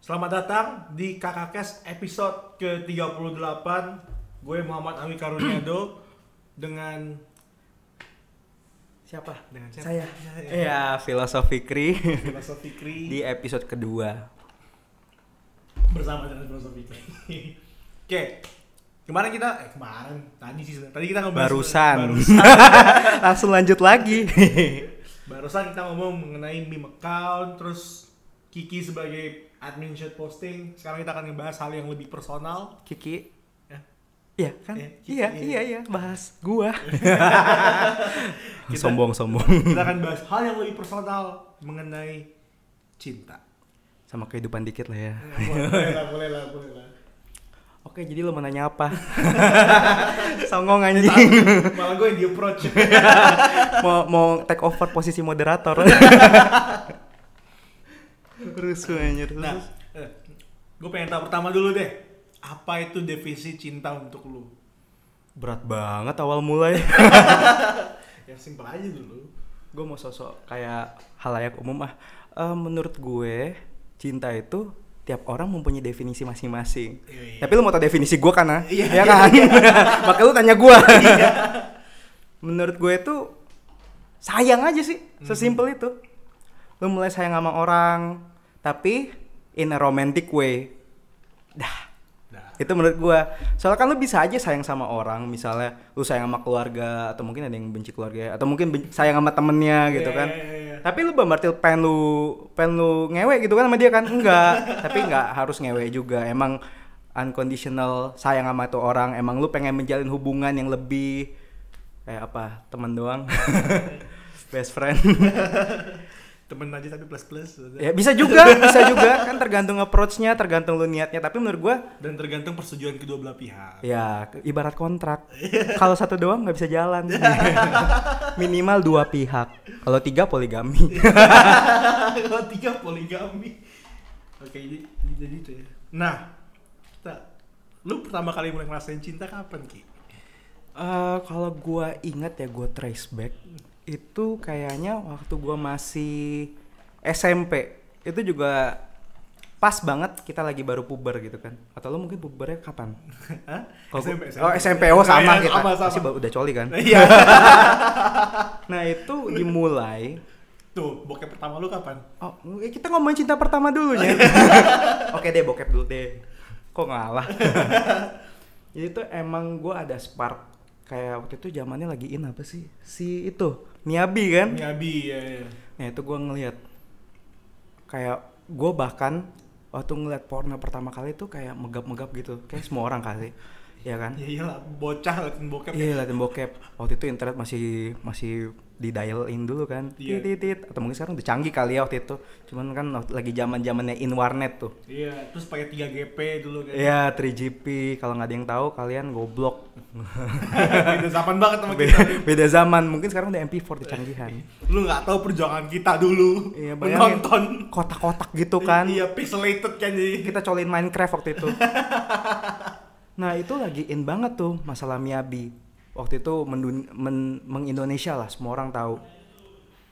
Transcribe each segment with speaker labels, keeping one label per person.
Speaker 1: Selamat datang di Kakakes episode ke-38 Gue Muhammad Ami Karuniado Dengan Siapa? Dengan siapa?
Speaker 2: Saya.
Speaker 1: Saya
Speaker 2: Iya, filosofi Kri
Speaker 1: Filosof Fikri
Speaker 2: di episode kedua.
Speaker 1: bersama dengan Filosof Fikri Oke Kemarin kita, eh kemarin, tadi sih sebenarnya. Tadi kita ngebahas
Speaker 2: Oh, Barusan.
Speaker 1: Barusan,
Speaker 2: Langsung lanjut lagi.
Speaker 1: Barusan kita ngomong mengenai meme account Terus Kiki sebagai admin shit posting Sekarang kita akan ngebahas hal yang lebih personal
Speaker 2: Kiki.
Speaker 1: Ya.
Speaker 2: Iya kan?
Speaker 1: Iya, Kiki,
Speaker 2: Iya,
Speaker 1: iya.
Speaker 2: iya, iya, bahas gua.
Speaker 1: Kita-
Speaker 2: sombong, sombong.
Speaker 1: Kita akan bahas hal yang lebih personal mengenai cinta
Speaker 2: Sama kehidupan dikit lah ya.
Speaker 1: boleh lah, boleh lah, boleh lah.
Speaker 2: Oke, jadi lo mau nanya apa? Songong anjing.
Speaker 1: Tahu, Malah gue yang di approach.
Speaker 2: mau mau take over posisi moderator. Rusuh anjir.
Speaker 1: nah, eh, gue pengen tahu pertama dulu deh, apa itu definisi cinta untuk lu?
Speaker 2: Berat banget awal mulai.
Speaker 1: Yang Ya, simpel aja dulu.
Speaker 2: gue mau sosok kayak halayak umum ah Eh, menurut gue cinta itu tiap orang mempunyai definisi masing-masing
Speaker 1: Iya, iya.
Speaker 2: tapi lu mau tau definisi gue kan ah
Speaker 1: Iya,
Speaker 2: ya kan makanya lu tanya gue menurut gue itu sayang aja sih
Speaker 1: Hmm.
Speaker 2: sesimpel itu lu mulai sayang sama orang tapi in a romantic way dah
Speaker 1: Nah,
Speaker 2: itu menurut gua soalnya kan lu bisa aja sayang sama orang misalnya lu sayang sama keluarga atau mungkin ada yang benci keluarga atau mungkin ben- sayang sama temennya gitu
Speaker 1: Iya,
Speaker 2: kan
Speaker 1: iya, iya, iya.
Speaker 2: tapi lu bukan berarti pengen lu pengen lu ngewe gitu kan sama dia kan enggak tapi enggak harus ngewe juga emang unconditional sayang sama tuh orang emang lu pengen menjalin hubungan yang lebih kayak apa teman doang best friend
Speaker 1: temen aja tapi plus plus.
Speaker 2: ya bisa juga bisa juga kan tergantung approach-nya tergantung lu niatnya tapi menurut gua
Speaker 1: Dan tergantung persetujuan kedua belah pihak.
Speaker 2: Ya, ke- ibarat kontrak. Kalau satu doang nggak bisa jalan. Minimal dua pihak. Kalau tiga poligami.
Speaker 1: Kalau tiga poligami. Oke, jadi, jadi itu ya. Nah, kita, lu pertama kali mulai ngerasain cinta kapan ki?
Speaker 2: Eh, Kalau gua ingat ya, gua trace back itu kayaknya waktu gua masih SMP. Itu juga pas banget kita lagi baru puber gitu kan. Atau lo mungkin pubernya kapan?
Speaker 1: Hah?
Speaker 2: Kalau gua-
Speaker 1: SMP.
Speaker 2: Oh SMP, oh
Speaker 1: Iya,
Speaker 2: sama kita.
Speaker 1: Sama,
Speaker 2: Masih
Speaker 1: sama.
Speaker 2: ba- udah coli kan.
Speaker 1: Iya.
Speaker 2: Nah itu dimulai
Speaker 1: Tuh, bokep pertama lu kapan?
Speaker 2: Oh, eh, kita ngomongin cinta pertama dulu ya. Oke deh, bokep dulu deh. Kok ngalah? Jadi tuh emang gua ada spark. Kayak waktu itu zamannya lagi in apa sih? Si itu, Miyabi kan?
Speaker 1: Miabi, ya, ya.
Speaker 2: Nah itu gua ngeliat. Kayak gua bahkan waktu ngeliat porno pertama kali tuh kayak megap-megap gitu. Kayak semua orang kali. Ya kan?
Speaker 1: Ya iyalah, bocah liatin bokep. ya.
Speaker 2: Iya latihan bokep. Waktu itu internet masih masih di dial in dulu kan.
Speaker 1: Iya.
Speaker 2: Tit, tit, tit. Atau mungkin sekarang udah canggih kali ya waktu itu. Cuman kan waktu- lagi zaman-zamannya in warnet tuh.
Speaker 1: Iya, terus pakai 3 GP dulu kan.
Speaker 2: Iya, 3GP. Kalau nggak ada yang tahu kalian goblok.
Speaker 1: Beda zaman banget sama
Speaker 2: Beda,
Speaker 1: kita.
Speaker 2: beda zaman. Mungkin sekarang udah MP4 di canggihan.
Speaker 1: Lu nggak tahu perjuangan kita dulu.
Speaker 2: Iya, bayangin.
Speaker 1: Iya. Menonton.
Speaker 2: Kotak-kotak gitu kan.
Speaker 1: Iya, pixelated kan jadi.
Speaker 2: Kita colin Minecraft waktu itu. nah, itu lagi in banget tuh masalah Miyabi. Waktu itu mendun- men- mengindonesia lah, semua orang tahu.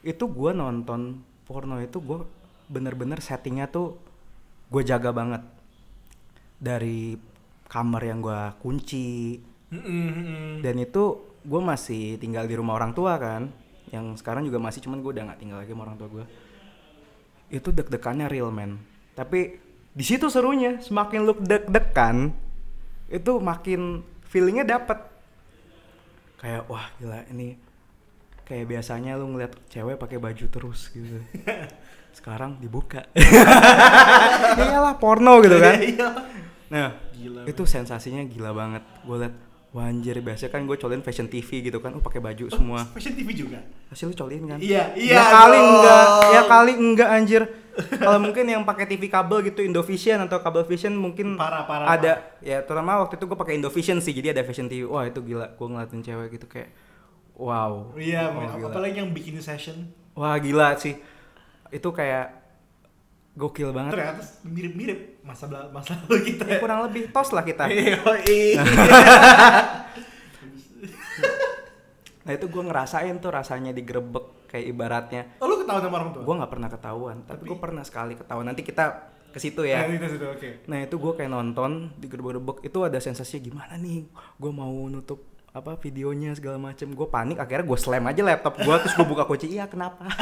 Speaker 2: Itu gua nonton porno itu gua bener-bener settingnya tuh gue jaga banget. Dari kamar yang gua kunci,
Speaker 1: Mm-mm, mm-mm.
Speaker 2: dan itu gue masih tinggal di rumah orang tua kan yang sekarang juga masih cuman gue udah nggak tinggal lagi sama orang tua gue itu deg-degannya real man tapi di situ serunya semakin lu deg-degan itu makin feelingnya dapet kayak wah gila ini kayak biasanya lu ngeliat cewek pakai baju terus gitu sekarang dibuka iyalah porno gitu kan
Speaker 1: Iya.
Speaker 2: nah
Speaker 1: Gila.
Speaker 2: itu sensasinya gila banget gue liat wah anjir biasanya kan gue colin fashion TV gitu kan oh pakai baju semua
Speaker 1: Fashion TV juga.
Speaker 2: pasti lu colin kan
Speaker 1: Iya, iya.
Speaker 2: ya kali
Speaker 1: dong.
Speaker 2: enggak ya kali enggak anjir kalau mungkin yang pakai TV kabel gitu Indovision atau kabel vision mungkin
Speaker 1: Parah, parah,
Speaker 2: ada ya terutama waktu itu gue pakai Indovision sih jadi ada fashion TV wah itu gila gue ngeliatin cewek gitu kayak wow
Speaker 1: Iya,
Speaker 2: Oh,
Speaker 1: men.
Speaker 2: gila.
Speaker 1: apalagi yang bikin session.
Speaker 2: wah gila sih itu kayak gokil banget
Speaker 1: Ternyata mirip-mirip masa bela- masa lalu kita.
Speaker 2: Ya, kurang lebih tos lah kita
Speaker 1: Iya, iya.
Speaker 2: nah itu gue ngerasain tuh rasanya digerebek kayak ibaratnya
Speaker 1: Oh, lu ketahuan sama orang tua?
Speaker 2: gue nggak pernah ketahuan tapi,
Speaker 1: Tapi-
Speaker 2: gue pernah sekali ketahuan nanti kita ke situ ya.
Speaker 1: Nah, itu sudah oke.
Speaker 2: Nah itu gue kayak nonton di gerbek-gerbek itu ada sensasinya gimana nih gue mau nutup apa videonya segala macem gue panik akhirnya gue slam aja laptop gue terus gue buka kunci iya kenapa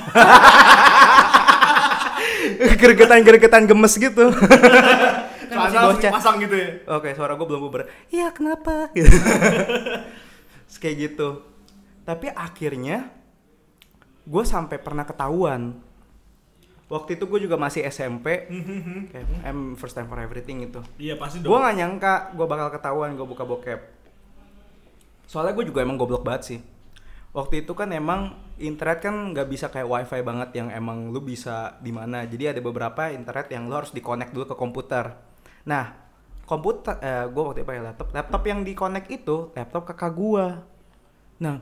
Speaker 2: gergetan-gergetan gemes gitu
Speaker 1: Kan
Speaker 2: Soalnya
Speaker 1: masih harus
Speaker 2: bocah.
Speaker 1: pasang gitu ya.
Speaker 2: oke suara gue belum bubar iya kenapa gitu. Terus kayak gitu tapi akhirnya gue sampai pernah ketahuan waktu itu gue juga masih SMP kayak I'm first time for everything gitu. itu
Speaker 1: Iya pasti
Speaker 2: Gue
Speaker 1: dong.
Speaker 2: gak nyangka gue bakal ketahuan gue buka bokep. Soalnya gue juga emang goblok banget sih. Waktu itu kan emang internet kan nggak bisa kayak wifi banget yang emang lu bisa di mana. Jadi ada beberapa internet yang lu harus dikonek dulu ke komputer. Nah, komputer eh, gue waktu itu pakai laptop. Laptop yang dikonek itu laptop kakak gue. Nah,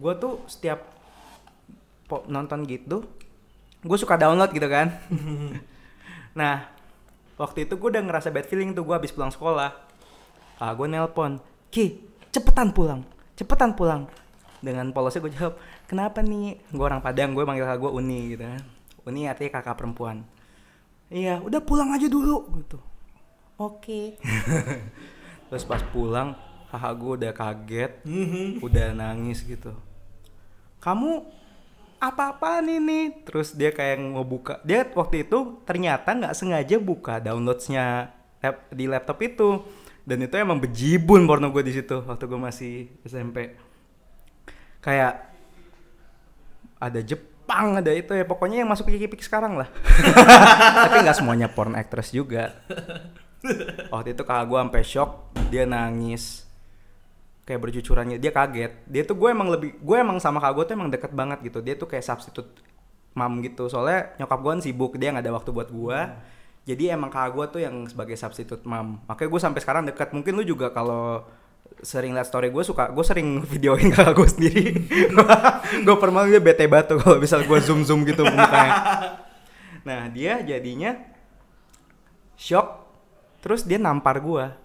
Speaker 2: gue tuh setiap po- nonton gitu, gue suka download gitu kan. Nah, waktu itu gue udah ngerasa bad feeling tuh gue habis pulang sekolah. Ah, gue nelpon, Ki, cepetan pulang, cepetan pulang. Dengan polosnya gue jawab, kenapa nih? Gue orang Padang, gue manggil kakak gue Uni gitu kan. Uni artinya kakak perempuan. Iya, udah pulang aja dulu gitu. Oke. Terus pas pulang, kakak gue udah kaget,
Speaker 1: Mhm,
Speaker 2: udah nangis gitu kamu apa-apaan ini terus dia kayak mau buka dia waktu itu ternyata nggak sengaja buka downloadsnya lap- di laptop itu dan itu emang bejibun porno gue di situ waktu gue masih SMP kayak ada Jepang ada itu ya pokoknya yang masuk kiki sekarang lah tapi nggak semuanya porn actress juga waktu itu kakak gue sampai shock dia nangis kayak berjucurannya dia kaget dia tuh gue emang lebih gue emang sama kakak gue tuh emang deket banget gitu dia tuh kayak substitute mam gitu soalnya nyokap gue kan sibuk dia nggak ada waktu buat gue jadi emang kakak gue tuh yang sebagai substitute mam makanya gue sampai sekarang deket mungkin lu juga kalau sering liat story gue suka gue sering videoin kakak gue sendiri gue pernah dia bete batu kalau misal gue zoom zoom gitu mukanya nah dia jadinya shock terus dia nampar gua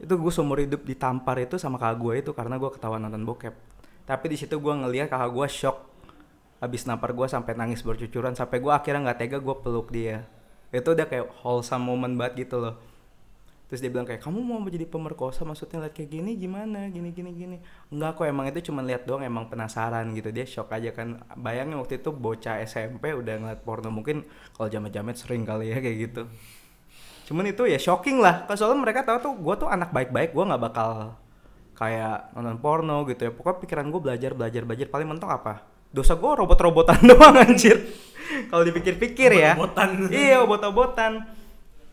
Speaker 2: itu gue seumur hidup ditampar itu sama kakak gue itu karena gua ketahuan nonton bokep tapi di situ gua ngeliat kakak gua shock habis nampar gua sampai nangis bercucuran sampai gua akhirnya nggak tega gua peluk dia itu udah kayak wholesome moment banget gitu loh terus dia bilang kayak kamu mau jadi pemerkosa maksudnya lihat kayak gini gimana gini gini gini enggak kok emang itu cuma lihat doang emang penasaran gitu dia shock aja kan bayangin waktu itu bocah SMP udah ngeliat porno mungkin kalau jamet-jamet sering kali ya kayak gitu cuman itu ya shocking lah Kan soalnya mereka tahu tuh gue tuh anak baik-baik gue nggak bakal kayak nonton porno gitu ya pokoknya pikiran gue belajar belajar belajar paling mentok apa dosa gue robot-robotan doang anjir kalau dipikir-pikir ya
Speaker 1: Obot-obotan.
Speaker 2: iya obot-obotan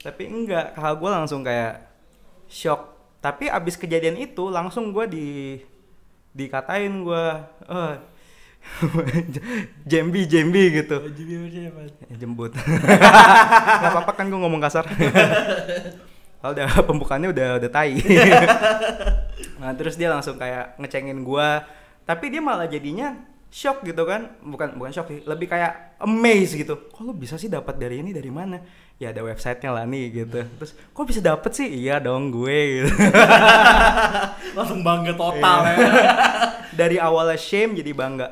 Speaker 2: tapi enggak kakak gue langsung kayak shock tapi abis kejadian itu langsung gue di dikatain gue eh jembi jembi gitu
Speaker 1: Jimmy Mercer apa?
Speaker 2: Ya, jembut nggak apa-apa kan gue ngomong kasar kalau udah pembukaannya udah udah tai nah terus dia langsung kayak ngecengin gua tapi dia malah jadinya shock gitu kan bukan bukan shock sih lebih kayak amazed gitu kok lu bisa sih dapat dari ini dari mana ya ada websitenya lah nih gitu terus kok bisa dapet sih iya dong gue gitu
Speaker 1: Langsung bangga total ya.
Speaker 2: dari awalnya shame jadi bangga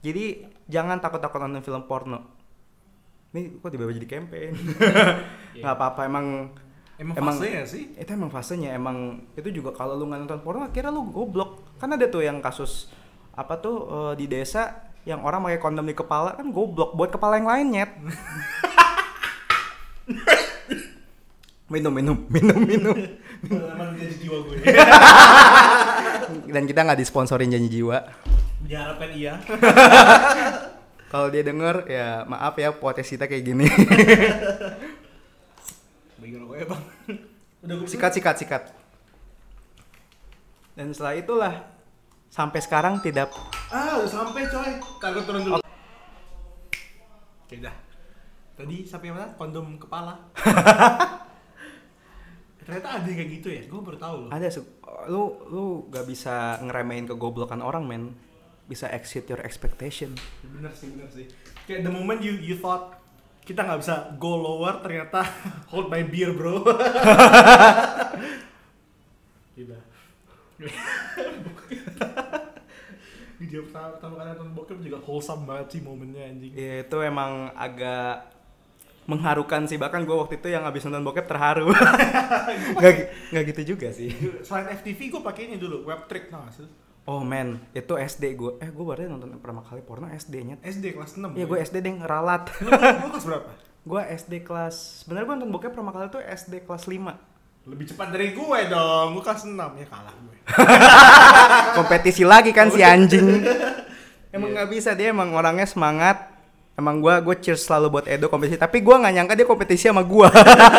Speaker 2: jadi jangan takut-takut nonton film porno ini kok tiba-tiba jadi campaign nggak apa-apa emang
Speaker 1: Emang,
Speaker 2: Emang-
Speaker 1: fasenya sih?
Speaker 2: itu emang fasenya emang itu juga kalau lu nggak nonton porno akhirnya lu goblok kan ada tuh yang kasus apa tuh eh, di desa yang orang pakai kondom di kepala kan goblok buat kepala yang lain nyet minum minum minum minum
Speaker 1: Emang jadi jiwa gue.
Speaker 2: dan kita nggak disponsorin janji jiwa
Speaker 1: Diharapkan iya.
Speaker 2: Kalau dia denger ya maaf ya podcast kita kayak gini.
Speaker 1: Bagi rokoknya bang. Udah gue
Speaker 2: sikat sikat sikat. Dan setelah itulah sampai sekarang tidak
Speaker 1: Ah, udah sampai coy. Kagak turun dulu. Oke dah. Tadi sampai mana? Kondom kepala. Ternyata ada yang kayak gitu ya. Gue baru tahu loh.
Speaker 2: ada su- lu lu gak bisa ngeremehin kegoblokan orang men bisa exceed your expectation
Speaker 1: Ya, Bener sih, bener sih. Kayak the moment you you thought kita nggak bisa go lower, ternyata hold my beer bro. Gila. Video pertama, pertama kali nonton bokep juga wholesome banget sih momennya anjing.
Speaker 2: Ya, itu emang agak mengharukan sih bahkan gue waktu itu yang habis nonton bokep terharu nggak gi- nggak gitu juga sih
Speaker 1: Selain FTV gue pakai ini dulu, web trick tau gak sih?
Speaker 2: oh man itu SD gue eh gue baru nonton pertama kali porno SD nya
Speaker 1: SD kelas 6
Speaker 2: Iya gue SD deh ngeralat
Speaker 1: Lu lu kelas berapa?
Speaker 2: gue SD kelas sebenarnya gue nonton bokep pertama kali tuh SD kelas 5
Speaker 1: Lebih cepat dari gue dong, gue kelas 6 ya kalah gue
Speaker 2: kompetisi lagi kan si anjing emang nggak bisa dia emang orangnya semangat emang gue gue cheers selalu buat Edo kompetisi tapi gue nggak nyangka dia kompetisi sama gue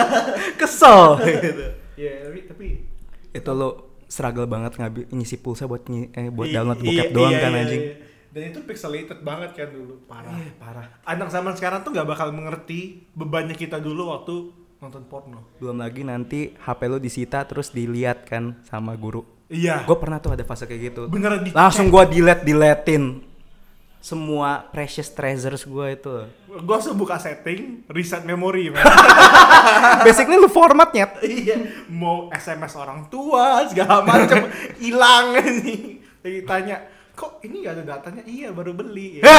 Speaker 2: kesel gitu.
Speaker 1: Iya, tapi, tapi
Speaker 2: itu lo struggle banget ngabi ngisi pulsa buat nyi- eh, buat
Speaker 1: I-
Speaker 2: download
Speaker 1: iya,
Speaker 2: bokep doang
Speaker 1: iya,
Speaker 2: kan
Speaker 1: iya,
Speaker 2: anjing
Speaker 1: iya. Dan itu pixelated banget kan dulu, parah
Speaker 2: Eh, parah
Speaker 1: Anak zaman sekarang tuh gak bakal mengerti bebannya kita dulu waktu nonton porno
Speaker 2: belum lagi nanti HP lo disita terus dilihat kan sama guru
Speaker 1: Iya,
Speaker 2: gue pernah tuh ada fase kayak gitu
Speaker 1: beneran di
Speaker 2: langsung gue delete deletein semua precious treasures gue itu
Speaker 1: Gue langsung buka setting, reset memori men.
Speaker 2: basically lu formatnya
Speaker 1: Iya, mau SMS orang tua segala macam hilang nih. Lagi tanya, kok ini gak ada datanya? Iya, baru beli. Ya.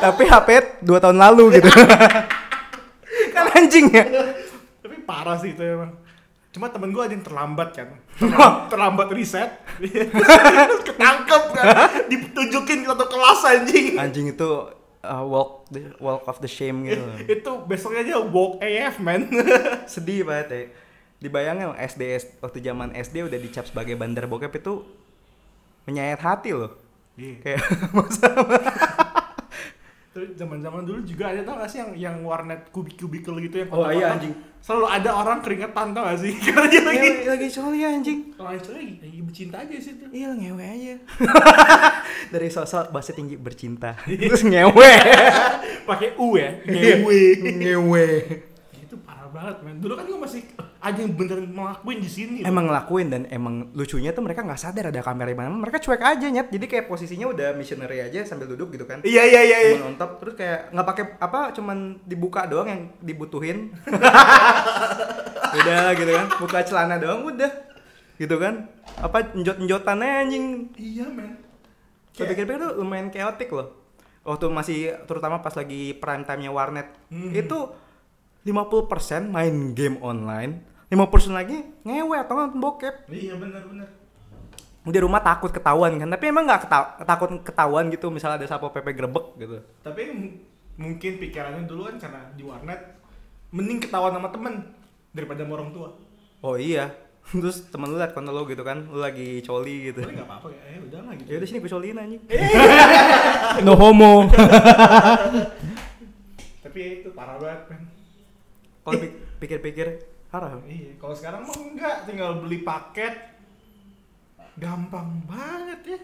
Speaker 2: tapi HP dua tahun lalu gitu kan anjing ya
Speaker 1: Tapi parah sih itu emang. Cuma temen gue ada yang terlambat kan, terlambat, terlambat riset, Terus ketangkep kan, ditunjukin ke satu kelas anjing.
Speaker 2: anjing itu uh, walk the, walk of the shame gitu
Speaker 1: itu besoknya aja walk AF man.
Speaker 2: sedih banget ya dibayangin loh, SD S- waktu zaman SD udah dicap sebagai bandar bokep itu menyayat hati loh kayak
Speaker 1: Iya. Terus zaman-zaman dulu juga ada tau gak sih yang yang warnet kubik-kubikel gitu yang
Speaker 2: Oh,
Speaker 1: kotak-kotak.
Speaker 2: iya, anjing.
Speaker 1: Selalu ada orang keringetan tau gak sih? Karena dia lagi
Speaker 2: Ya, lagi coli ya, anjing
Speaker 1: Kalau itu lagi lagi bercinta aja sih tuh.
Speaker 2: Iya ngewe aja Dari sosok bahasa tinggi bercinta Terus ngewe
Speaker 1: Pakai U ya.
Speaker 2: Ngewe
Speaker 1: itu parah banget, men. Dulu kan gue masih ada yang beneran ngelakuin di sini. loh.
Speaker 2: Emang ngelakuin dan emang lucunya tuh mereka nggak sadar ada kamera di mana Mereka cuek aja nyet Jadi kayak posisinya udah missionary aja sambil duduk gitu kan
Speaker 1: Iya iya iya. iya.
Speaker 2: Cuman on top, terus kayak nggak pakai apa cuman dibuka doang yang dibutuhin udah gitu kan buka celana doang udah gitu kan apa njot njotannya anjing
Speaker 1: Iya, men.
Speaker 2: Gue
Speaker 1: Kayak-
Speaker 2: pikir-pikir tuh lumayan chaotic loh waktu masih terutama pas lagi prime time-nya warnet
Speaker 1: Hmm.
Speaker 2: itu 50% main game online 50% lagi ngewe atau nonton bokep
Speaker 1: Iya benar-benar.
Speaker 2: di rumah takut ketahuan kan tapi emang nggak ketau- takut ketahuan gitu misalnya ada sapo pp grebek gitu
Speaker 1: Tapi m- mungkin pikirannya dulu kan karena di warnet mending ketahuan sama temen daripada sama orang tua.
Speaker 2: Oh iya. Terus temen lu liat konten lu gitu kan, lu lagi coli gitu.
Speaker 1: Tapi nggak apa-apa ya, eh, udah lah gitu.
Speaker 2: Ya udah sini gue coliin anjing. no homo.
Speaker 1: Tapi ya itu parah banget, men.
Speaker 2: Kalau pi- pikir-pikir haram.
Speaker 1: Iya, kalau sekarang mah enggak, tinggal beli paket gampang banget ya.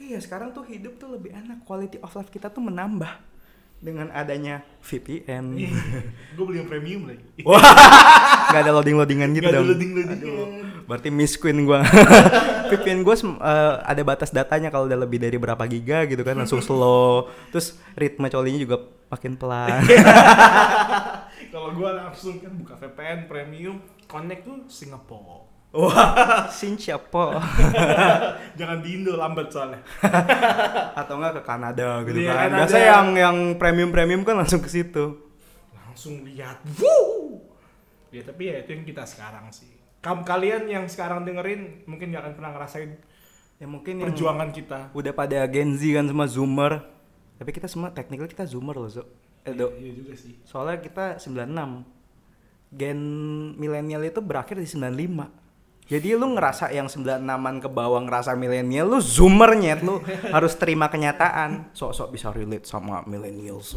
Speaker 2: Iya, sekarang tuh hidup tuh lebih enak. Quality of life kita tuh menambah dengan adanya VPN.
Speaker 1: gue Iya. beli yang premium lagi
Speaker 2: Gak ada loading-loadingan gitu
Speaker 1: Nggak ada
Speaker 2: dong.
Speaker 1: loading-loadingan.
Speaker 2: Aduh, Berarti miss queen gua. VPN gua sem- eh, ada batas datanya kalau udah lebih dari berapa giga gitu kan langsung slow. Terus ritme colinya juga makin pelan.
Speaker 1: kalau gue langsung kan buka VPN premium connect tuh Singapore Iya.
Speaker 2: Sin siapa?
Speaker 1: jangan di Indo lambat soalnya
Speaker 2: atau enggak ke Kanada
Speaker 1: Iya,
Speaker 2: gitu kan.
Speaker 1: Kanada.
Speaker 2: Biasanya yang yang premium-premium kan langsung ke situ.
Speaker 1: langsung lihat wuh ya tapi ya itu yang kita sekarang sih Kam kalian yang sekarang dengerin mungkin gak akan pernah ngerasain
Speaker 2: Ya mungkin yang
Speaker 1: perjuangan kita
Speaker 2: udah pada Gen Z kan semua Zoomer. Tapi kita semua technical kita Zoomer loh, Zo. Eh, Dok.
Speaker 1: iya juga sih
Speaker 2: Soalnya kita 96. Gen milenial itu berakhir di 95. Jadi lu ngerasa yang 96-an ke bawah ngerasa milenial, lu zoomer nyet, lu harus terima kenyataan. Sok-sok bisa relate sama millennials.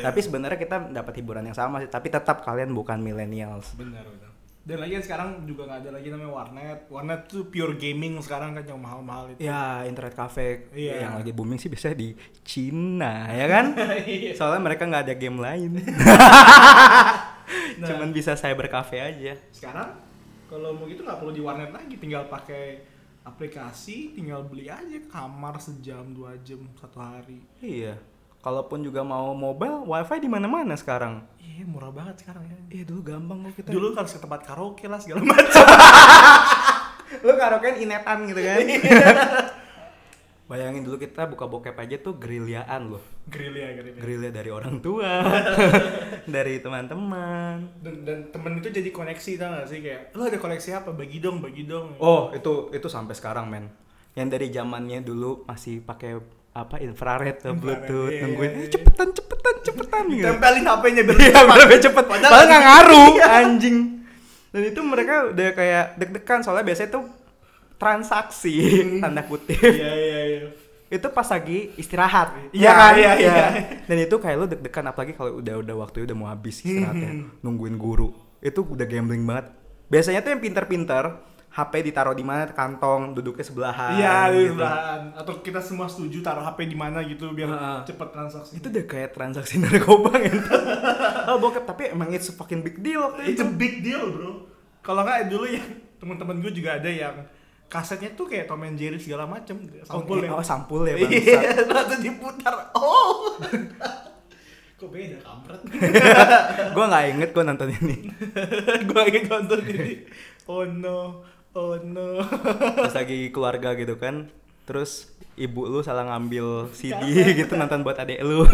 Speaker 2: Tapi sebenarnya kita dapat hiburan yang sama sih, tapi tetap kalian bukan millennials.
Speaker 1: benar benar dan lagi kan sekarang juga gak ada lagi namanya warnet warnet tuh pure gaming sekarang kan yang mahal-mahal itu
Speaker 2: Ya, internet cafe
Speaker 1: Iya.
Speaker 2: yang lagi booming sih biasanya di Cina, ya kan?
Speaker 1: Iya.
Speaker 2: Soalnya mereka nggak ada game lain.
Speaker 1: Nah.
Speaker 2: Cuman bisa cyber cafe aja.
Speaker 1: sekarang kalau mau gitu nggak perlu di warnet lagi tinggal pakai aplikasi tinggal beli aja kamar sejam dua jam satu hari
Speaker 2: Iya. Kalaupun juga mau mobile, wifi di mana-mana sekarang.
Speaker 1: iya murah banget sekarang ya
Speaker 2: Iya dulu gampang kok kita. Dulu
Speaker 1: dulu harus ke tempat karaoke lah segala macam
Speaker 2: lu karaokean inetan gitu kan. Bayangin dulu kita buka bokep aja tuh gerilyaan loh.
Speaker 1: Gerilya, gerilya.
Speaker 2: Gerilya dari orang tua, dari teman-teman.
Speaker 1: dan, dan temen itu jadi koneksi tau gak sih kayak lo ada koleksi apa bagi dong bagi dong
Speaker 2: Oh, itu itu sampai sekarang, men. Yang dari zamannya dulu masih pakai apa infrared,
Speaker 1: Infrared,
Speaker 2: bluetooth,
Speaker 1: iya,
Speaker 2: nungguin
Speaker 1: iya,
Speaker 2: "Eh,
Speaker 1: iya."
Speaker 2: cepetan cepetan cepetan gitu.
Speaker 1: tempelin HP-nya biar
Speaker 2: Iya,
Speaker 1: cepat.
Speaker 2: malah lebih cepet.
Speaker 1: Padahal Iya.
Speaker 2: Padahal nggak ngaruh, anjing. Dan itu mereka udah kayak deg-degan soalnya biasanya tuh transaksi tanda kutip.
Speaker 1: Hmm. iya iya iya
Speaker 2: Itu pas lagi istirahat. kan?
Speaker 1: Iya, iya, iya.
Speaker 2: Dan itu kayak lo deg-degan apalagi kalau udah udah waktunya udah mau habis
Speaker 1: Hmm.
Speaker 2: istirahatnya, nungguin guru. Itu udah gambling banget. Biasanya tuh yang pinter-pinter HP ditaruh di mana kantong, duduknya sebelahan.
Speaker 1: iya
Speaker 2: gitu.
Speaker 1: sebelahan. atau kita semua setuju taruh HP di mana gitu biar
Speaker 2: Heeh.
Speaker 1: cepet transaksi
Speaker 2: Itu udah kayak transaksi narkoba gitu. oh bokep, tapi emang it's a fucking big deal waktu
Speaker 1: It's a big deal bro. Kalau nggak dulu ya teman-teman gue juga ada yang kasetnya tuh kayak Tom and Jerry segala macem sampul
Speaker 2: Oke,
Speaker 1: ya.
Speaker 2: Oh, sampul ya, Bang.
Speaker 1: Iya, langsung diputar. Oh. Kok beda kampret?
Speaker 2: gue nggak inget gue nonton ini.
Speaker 1: gue lagi nonton ini. Oh no, oh no.
Speaker 2: Terus lagi keluarga gitu kan. Terus ibu lu salah ngambil CD gitu nonton buat adek lu.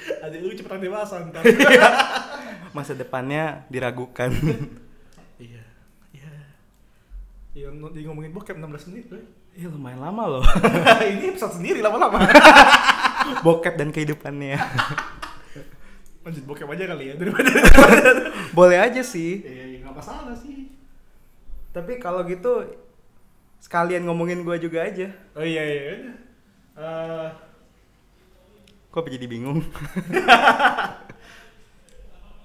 Speaker 1: Adik lu cepetan dewasa ntar.
Speaker 2: Masa depannya diragukan.
Speaker 1: Iya, iya. Iya, no- di ngomongin bokep 16 menit. bro.
Speaker 2: Iya lumayan lama loh.
Speaker 1: ini episode sendiri lama-lama.
Speaker 2: Bokep dan kehidupannya.
Speaker 1: Lanjut bokep aja kali ya daripada.
Speaker 2: Boleh aja sih.
Speaker 1: Iya, iya, nggak masalah sih.
Speaker 2: Tapi kalau gitu sekalian ngomongin gue juga aja.
Speaker 1: Oh iya iya. Eh,
Speaker 2: Kok jadi bingung?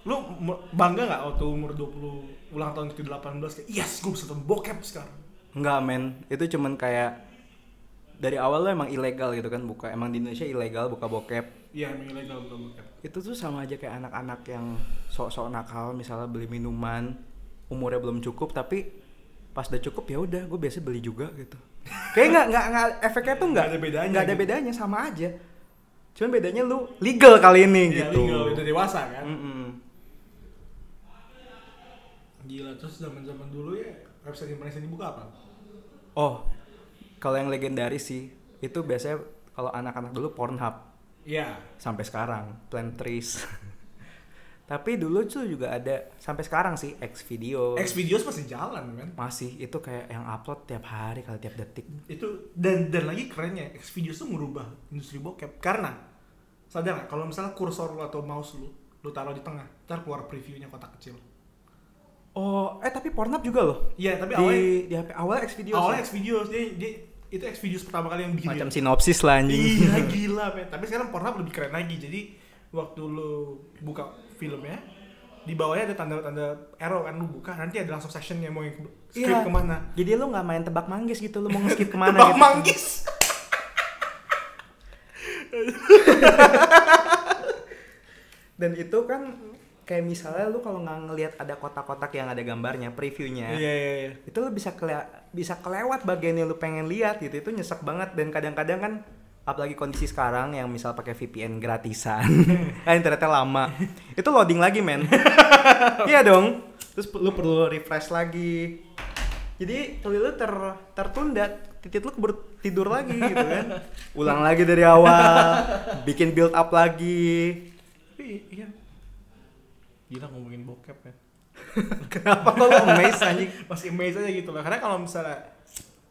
Speaker 1: lu m- bangga nggak waktu umur 20 ulang tahun ke 18 kayak yes gue bisa nonton bokep sekarang.
Speaker 2: Enggak men, itu cuman kayak dari awal lo emang ilegal gitu kan buka. Emang di Indonesia ilegal buka bokep.
Speaker 1: Iya emang ilegal nonton bokep.
Speaker 2: itu tuh sama aja kayak anak-anak yang sok-sok nakal misalnya beli minuman umurnya belum cukup tapi pas udah cukup ya udah gue biasa beli juga gitu kayak nggak nggak nggak efeknya tuh nggak
Speaker 1: Nggak ada bedanya
Speaker 2: nggak ada
Speaker 1: gitu.
Speaker 2: bedanya sama aja cuman bedanya lu legal kali ini
Speaker 1: Iya
Speaker 2: gitu
Speaker 1: legal udah dewasa kan.
Speaker 2: Mm-mm.
Speaker 1: Gila terus zaman zaman dulu ya website yang paling sering dibuka apa?
Speaker 2: oh kalau yang legendaris sih itu biasanya kalau anak-anak dulu Pornhub
Speaker 1: Iya.
Speaker 2: sampai sekarang Plan Trees tapi dulu tuh juga ada sampai sekarang sih X video
Speaker 1: X videos masih jalan kan.
Speaker 2: masih itu kayak yang upload tiap hari kali tiap detik
Speaker 1: Itu dan dan lagi kerennya X videos tuh merubah industri bokep karena sadar nggak kalau misalnya kursor lu atau mouse lu lu taruh di tengah ntar keluar previewnya kotak kecil.
Speaker 2: oh eh tapi Pornhub juga loh
Speaker 1: Iya tapi awalnya
Speaker 2: di di HP awal X ya? video
Speaker 1: awalnya X videos dia, dia itu X videos pertama kali yang bikin
Speaker 2: macam sinopsis lah anjing
Speaker 1: Iya gila men. Tapi sekarang Pornhub lebih keren lagi. Jadi waktu lu buka filmnya di bawahnya ada tanda-tanda arrow kan lu buka nanti ada langsung sectionnya mau yang ke- skip
Speaker 2: Iya.
Speaker 1: kemana
Speaker 2: jadi lu nggak main tebak manggis gitu lu mau skip kemana
Speaker 1: tebak
Speaker 2: gitu.
Speaker 1: manggis
Speaker 2: dan itu kan kayak misalnya lu kalau nggak ngelihat ada kotak-kotak yang ada gambarnya previewnya
Speaker 1: iya iya
Speaker 2: itu lu bisa kele- bisa kelewat bagian yang lu pengen lihat gitu itu nyesek banget dan kadang-kadang kan apalagi kondisi sekarang yang misal pakai VPN gratisan kan internetnya lama itu loading lagi men iya dong terus lu perlu refresh lagi jadi tuli lu ter- tertunda titit lu keburu tidur lagi gitu kan ulang lagi dari awal bikin build up lagi
Speaker 1: Tapi, iya gila ngomongin bokep ya
Speaker 2: kenapa kok lu amazed anjing
Speaker 1: masih amazed aja gitu lah karena kalau misalnya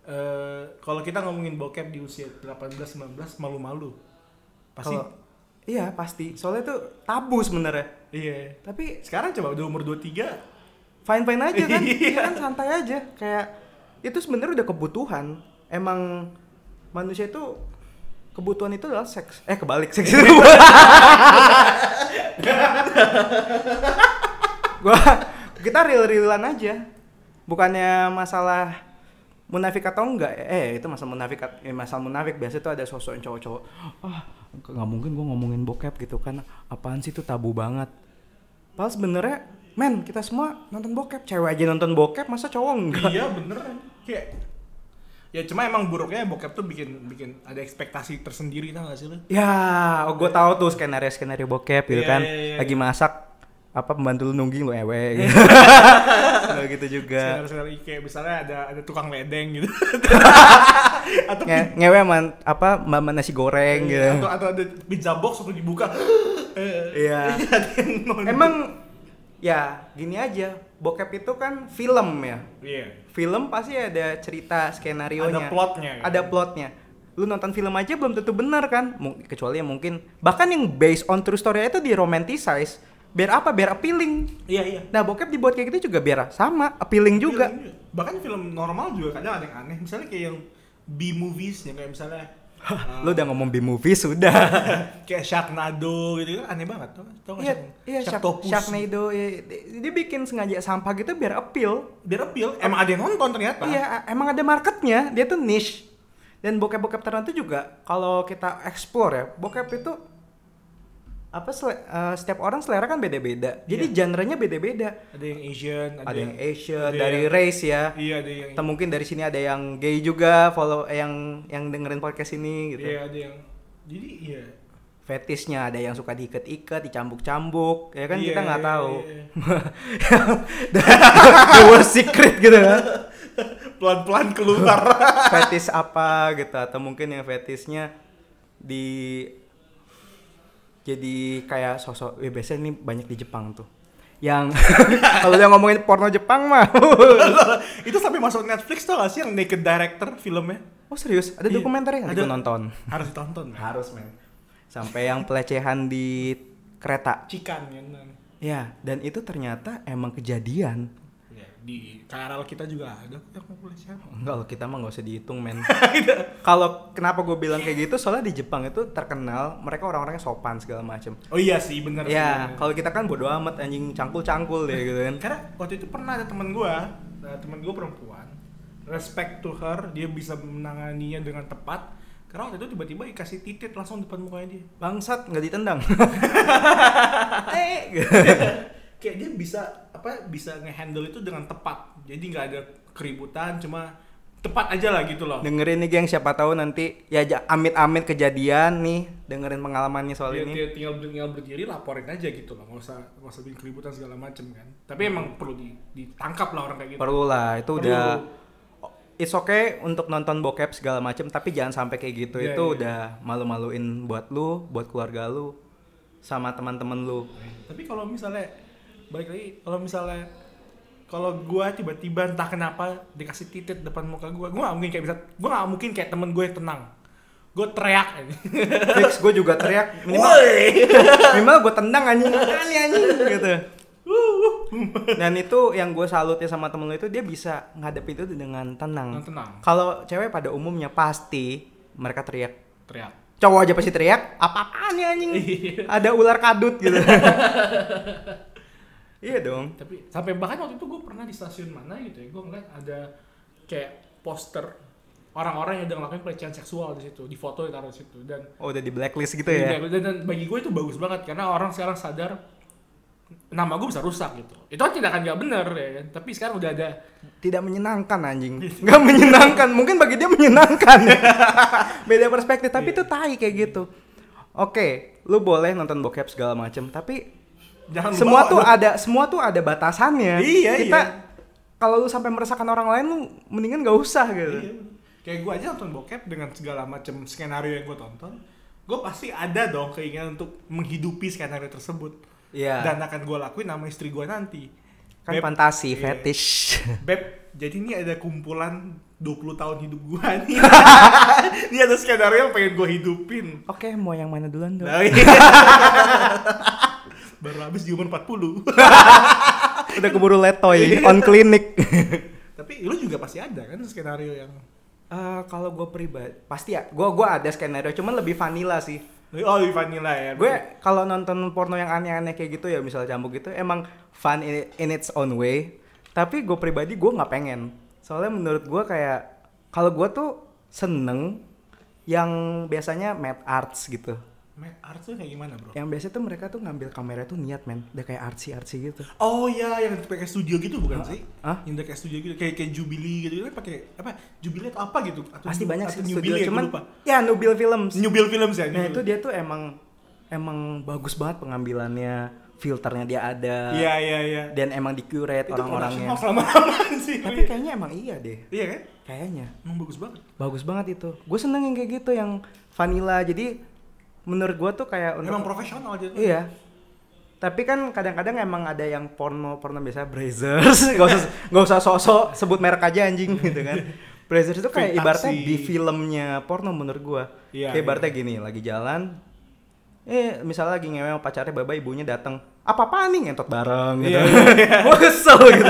Speaker 1: eh kalau kita ngomongin bokep di usia 18-19 malu-malu pasti
Speaker 2: Kalau- iya pasti soalnya itu tabu sebenarnya
Speaker 1: iya
Speaker 2: tapi
Speaker 1: sekarang coba udah umur 23
Speaker 2: fine fine aja kan
Speaker 1: Iya.
Speaker 2: iya kan santai aja kayak itu sebenarnya udah kebutuhan emang manusia itu kebutuhan itu adalah seks eh kebalik seks itu gua kita real realan aja bukannya masalah munafik atau enggak eh itu masalah munafik at- eh, masalah munafik biasa tuh ada sosok yang cowok-cowok ah nggak mungkin gua ngomongin bokep gitu kan apaan sih itu tabu banget Padahal sebenarnya men kita semua nonton bokep cewek aja nonton bokep masa cowok enggak
Speaker 1: iya bener kayak ya cuma emang buruknya bokep tuh bikin bikin ada ekspektasi tersendiri tau gak sih lu
Speaker 2: ya oh gue tahu tuh skenario skenario bokep
Speaker 1: Iya,
Speaker 2: gitu kan
Speaker 1: iya, iya,
Speaker 2: lagi masak apa pembantu lu nungging lu ewe gitu. Nggak gitu juga
Speaker 1: Seller-seller IKEA misalnya ada ada tukang ledeng gitu. atau
Speaker 2: Nge ngewe sama apa mama nasi goreng gitu.
Speaker 1: Iya, atau, atau ada pizza box atau dibuka. Eh,
Speaker 2: Iya.
Speaker 1: ada yang nonton.
Speaker 2: Emang ya gini aja, bokep itu kan film ya.
Speaker 1: Iya.
Speaker 2: Film pasti ada cerita skenario
Speaker 1: Ada plotnya, gitu.
Speaker 2: Ada plotnya. Lu nonton film aja belum tentu benar kan? Mung- kecuali yang mungkin bahkan yang based on true story itu di romanticize. Biar apa? Biar appealing.
Speaker 1: Iya iya.
Speaker 2: Nah, bokep dibuat kayak gitu juga biar sama, appealing juga.
Speaker 1: Film Bahkan film normal juga kadang ada yang aneh. Misalnya kayak yang B movies kayak misalnya eh,
Speaker 2: Lu udah ngomong B movie sudah.
Speaker 1: kayak Sharknado gitu kan aneh banget tuh. Tahu
Speaker 2: Iya,
Speaker 1: enggak?
Speaker 2: iya, Shark-
Speaker 1: Sharktopus.
Speaker 2: Sharknado, iya. dia dia bikin sengaja sampah gitu biar appeal.
Speaker 1: Biar appeal, emang ada yang nonton ternyata.
Speaker 2: Iya, a- emang ada marketnya, dia tuh niche. Dan bokep-bokep tertentu juga, kalau kita explore ya, bokep itu apa sele- eh, setiap orang selera kan beda-beda. Jadi genre-nya beda-beda.
Speaker 1: Iya. Ada yang Asian,
Speaker 2: Ada, yang Asia,
Speaker 1: ada
Speaker 2: dari
Speaker 1: yang-
Speaker 2: race ya.
Speaker 1: Iya, ada yang
Speaker 2: Atau mungkin dari sini ada yang gay juga, follow eh, yang yang dengerin podcast ini gitu.
Speaker 1: Iya, ada yang jadi iya.
Speaker 2: Fetishnya ada yang suka diikat-ikat, dicambuk-cambuk, ya kan
Speaker 1: Iya,
Speaker 2: kita nggak
Speaker 1: iya,
Speaker 2: tahu.
Speaker 1: iya.
Speaker 2: The worst secret gitu kan.
Speaker 1: Pelan-pelan keluar.
Speaker 2: fetis apa gitu atau mungkin yang fetisnya di jadi kayak sosok eh, biasanya ini banyak di Jepang tuh yang kalau udah ngomongin porno Jepang mah
Speaker 1: itu sampai masuk Netflix tau gak sih yang Naked Director filmnya?
Speaker 2: oh serius ada
Speaker 1: Iya,
Speaker 2: dokumenternya nggak
Speaker 1: ada.
Speaker 2: gue nonton
Speaker 1: Harus ditonton. men.
Speaker 2: harus men sampai yang pelecehan di kereta
Speaker 1: Cikan ya. Nan.
Speaker 2: ya dan itu ternyata emang kejadian
Speaker 1: Ya, di KRL kita juga ada kok yang pelecehan.
Speaker 2: Enggak loh, kita mah nggak usah dihitung men
Speaker 1: Gitu.
Speaker 2: kalau kenapa gue bilang kayak gitu soalnya di Jepang itu terkenal mereka orang-orangnya sopan segala macem
Speaker 1: Oh iya sih, bener sih,
Speaker 2: Ya,
Speaker 1: bener.
Speaker 2: kalau kita kan bodo amat anjing cangkul-cangkul deh gitu kan.
Speaker 1: Karena waktu itu pernah ada teman gua, nah, teman gua perempuan, respect to her, dia bisa menanganinya dengan tepat. Karena waktu itu tiba-tiba dikasih titit langsung depan mukanya dia.
Speaker 2: Bangsat nggak ditendang. eh.
Speaker 1: Kayak dia bisa apa bisa ngehandle itu dengan tepat. Jadi nggak ada keributan, cuma tepat aja lah gitu loh.
Speaker 2: Dengerin nih geng siapa tahu nanti ya ja- amit-amit kejadian nih dengerin pengalamannya soal
Speaker 1: dia,
Speaker 2: ini.
Speaker 1: dia Ya, tinggal tinggal berdiri laporin aja gitu loh nggak usah nggak usah bikin keributan segala macem kan
Speaker 2: Hmm.
Speaker 1: tapi emang perlu di- ditangkap lah orang kayak gitu
Speaker 2: Perlu lah, itu
Speaker 1: Perlu.
Speaker 2: udah It's okay untuk nonton bokep segala macem tapi jangan sampai kayak gitu.
Speaker 1: Iya,
Speaker 2: itu
Speaker 1: iya.
Speaker 2: udah malu-maluin buat lu, buat keluarga lu, sama teman-teman lu.
Speaker 1: tapi kalau misalnya balik lagi kalau misalnya kalau gua tiba-tiba entah kenapa dikasih titik depan muka gua gua nggak mungkin kayak bisa gua nggak mungkin kayak temen gue tenang gue teriak
Speaker 2: Hmm. Fix gue juga teriak minimal
Speaker 1: woi
Speaker 2: minimal gue tendang anjing anjing anjing gitu dan itu yang gue salutnya sama temen lu itu dia bisa ngadepin itu dengan tenang
Speaker 1: Dengan tenang.
Speaker 2: kalau cewek pada umumnya pasti mereka teriak
Speaker 1: teriak
Speaker 2: cowok aja pasti teriak apa apaan ya anjing
Speaker 1: Iya.
Speaker 2: ada ular kadut gitu iya dong
Speaker 1: tapi sampai bahkan waktu itu gue pernah di stasiun mana gitu ya gue ngeliat ada kayak poster orang-orang yang udah ngelakuin pelecehan seksual di situ di foto ditaruh di situ dan
Speaker 2: oh udah di blacklist gitu
Speaker 1: Iya,
Speaker 2: ya
Speaker 1: Dan, dan bagi gue itu bagus banget karena orang sekarang sadar nama gue bisa rusak gitu. Itu kan tindakan gak bener ya kan. Tapi sekarang udah ada
Speaker 2: tidak menyenangkan anjing nggak menyenangkan mungkin bagi dia menyenangkan beda perspektif tapi
Speaker 1: Iya.
Speaker 2: itu tai kayak gitu oke lu boleh nonton bokep segala macem tapi
Speaker 1: jangan lu
Speaker 2: semua
Speaker 1: bawa
Speaker 2: tuh
Speaker 1: lu.
Speaker 2: ada semua tuh ada batasannya
Speaker 1: Iya,
Speaker 2: kita
Speaker 1: iya.
Speaker 2: kalau lu sampai meresahkan orang lain lu mendingan gak usah gitu
Speaker 1: Iya. Kayak gue aja nonton bokep dengan segala macam skenario yang gue tonton, gue pasti ada dong keinginan untuk menghidupi skenario tersebut.
Speaker 2: Iya.
Speaker 1: Dan akan gue lakuin sama istri gue nanti.
Speaker 2: kan
Speaker 1: Beb,
Speaker 2: fantasi
Speaker 1: iya.
Speaker 2: fetish
Speaker 1: Beb, jadi ini ada kumpulan 20 tahun hidup gue nih. ini ada skenario yang pengen gue hidupin.
Speaker 2: oke mau yang mana duluan dong
Speaker 1: Nah, iya. Baru habis di umur 40.
Speaker 2: udah keburu letoy
Speaker 1: Iya.
Speaker 2: on klinik
Speaker 1: Tapi lu juga pasti ada kan skenario yang
Speaker 2: Eh, kalau gue pribadi pasti ya gue gua ada skenario cuman lebih vanilla sih
Speaker 1: oh lebih vanilla ya.
Speaker 2: gue kalau nonton porno yang aneh-aneh kayak gitu ya misalnya cambuk gitu emang fun in, in its own way tapi gue pribadi gue nggak pengen soalnya menurut gue kayak kalau gue tuh seneng yang biasanya mad arts gitu
Speaker 1: Mad art tuh kayak gimana, Bro?
Speaker 2: yang biasa tuh mereka tuh ngambil kamera tuh niat men udah kayak artsy artsy gitu
Speaker 1: Oh iya, yang pakai studio gitu bukan sih?
Speaker 2: Hah?
Speaker 1: Yang udah kayak studio gitu, kayak kayak Jubilee gitu kan pakai apa? Jubilee atau apa gitu? Atau
Speaker 2: pasti
Speaker 1: Ju-
Speaker 2: banyak
Speaker 1: atau
Speaker 2: sih
Speaker 1: New
Speaker 2: studio
Speaker 1: Billy ya, gua
Speaker 2: cuman
Speaker 1: lupa.
Speaker 2: ya Nubil Films
Speaker 1: New Bill Films ya. New
Speaker 2: Nah itu
Speaker 1: Bill.
Speaker 2: dia tuh emang emang bagus banget pengambilannya filternya dia ada
Speaker 1: Iya iya iya.
Speaker 2: dan emang dikurate
Speaker 1: Itu production
Speaker 2: orang-orangnya
Speaker 1: house lama-lamaan sih. ya.
Speaker 2: tapi kayaknya emang iya deh
Speaker 1: Iya kan?
Speaker 2: kayaknya
Speaker 1: Emang bagus banget.
Speaker 2: bagus banget itu gue seneng yang kayak gitu yang vanilla jadi menurut gue tuh kayak untuk-
Speaker 1: Emang profesional aja.
Speaker 2: iya tapi kan kadang-kadang emang ada yang porno porno biasa Brazers gak usah gak usah sok-sok sebut merek aja anjing gitu kan Brazers itu kayak
Speaker 1: Fake
Speaker 2: ibaratnya
Speaker 1: taxi.
Speaker 2: di filmnya porno menurut gua
Speaker 1: Iya,
Speaker 2: kayak ibaratnya gini lagi jalan eh misalnya lagi ngewe sama pacarnya baba ibunya datang apa apaan nih ngentot bareng gitu
Speaker 1: Iya,
Speaker 2: gua kesel gitu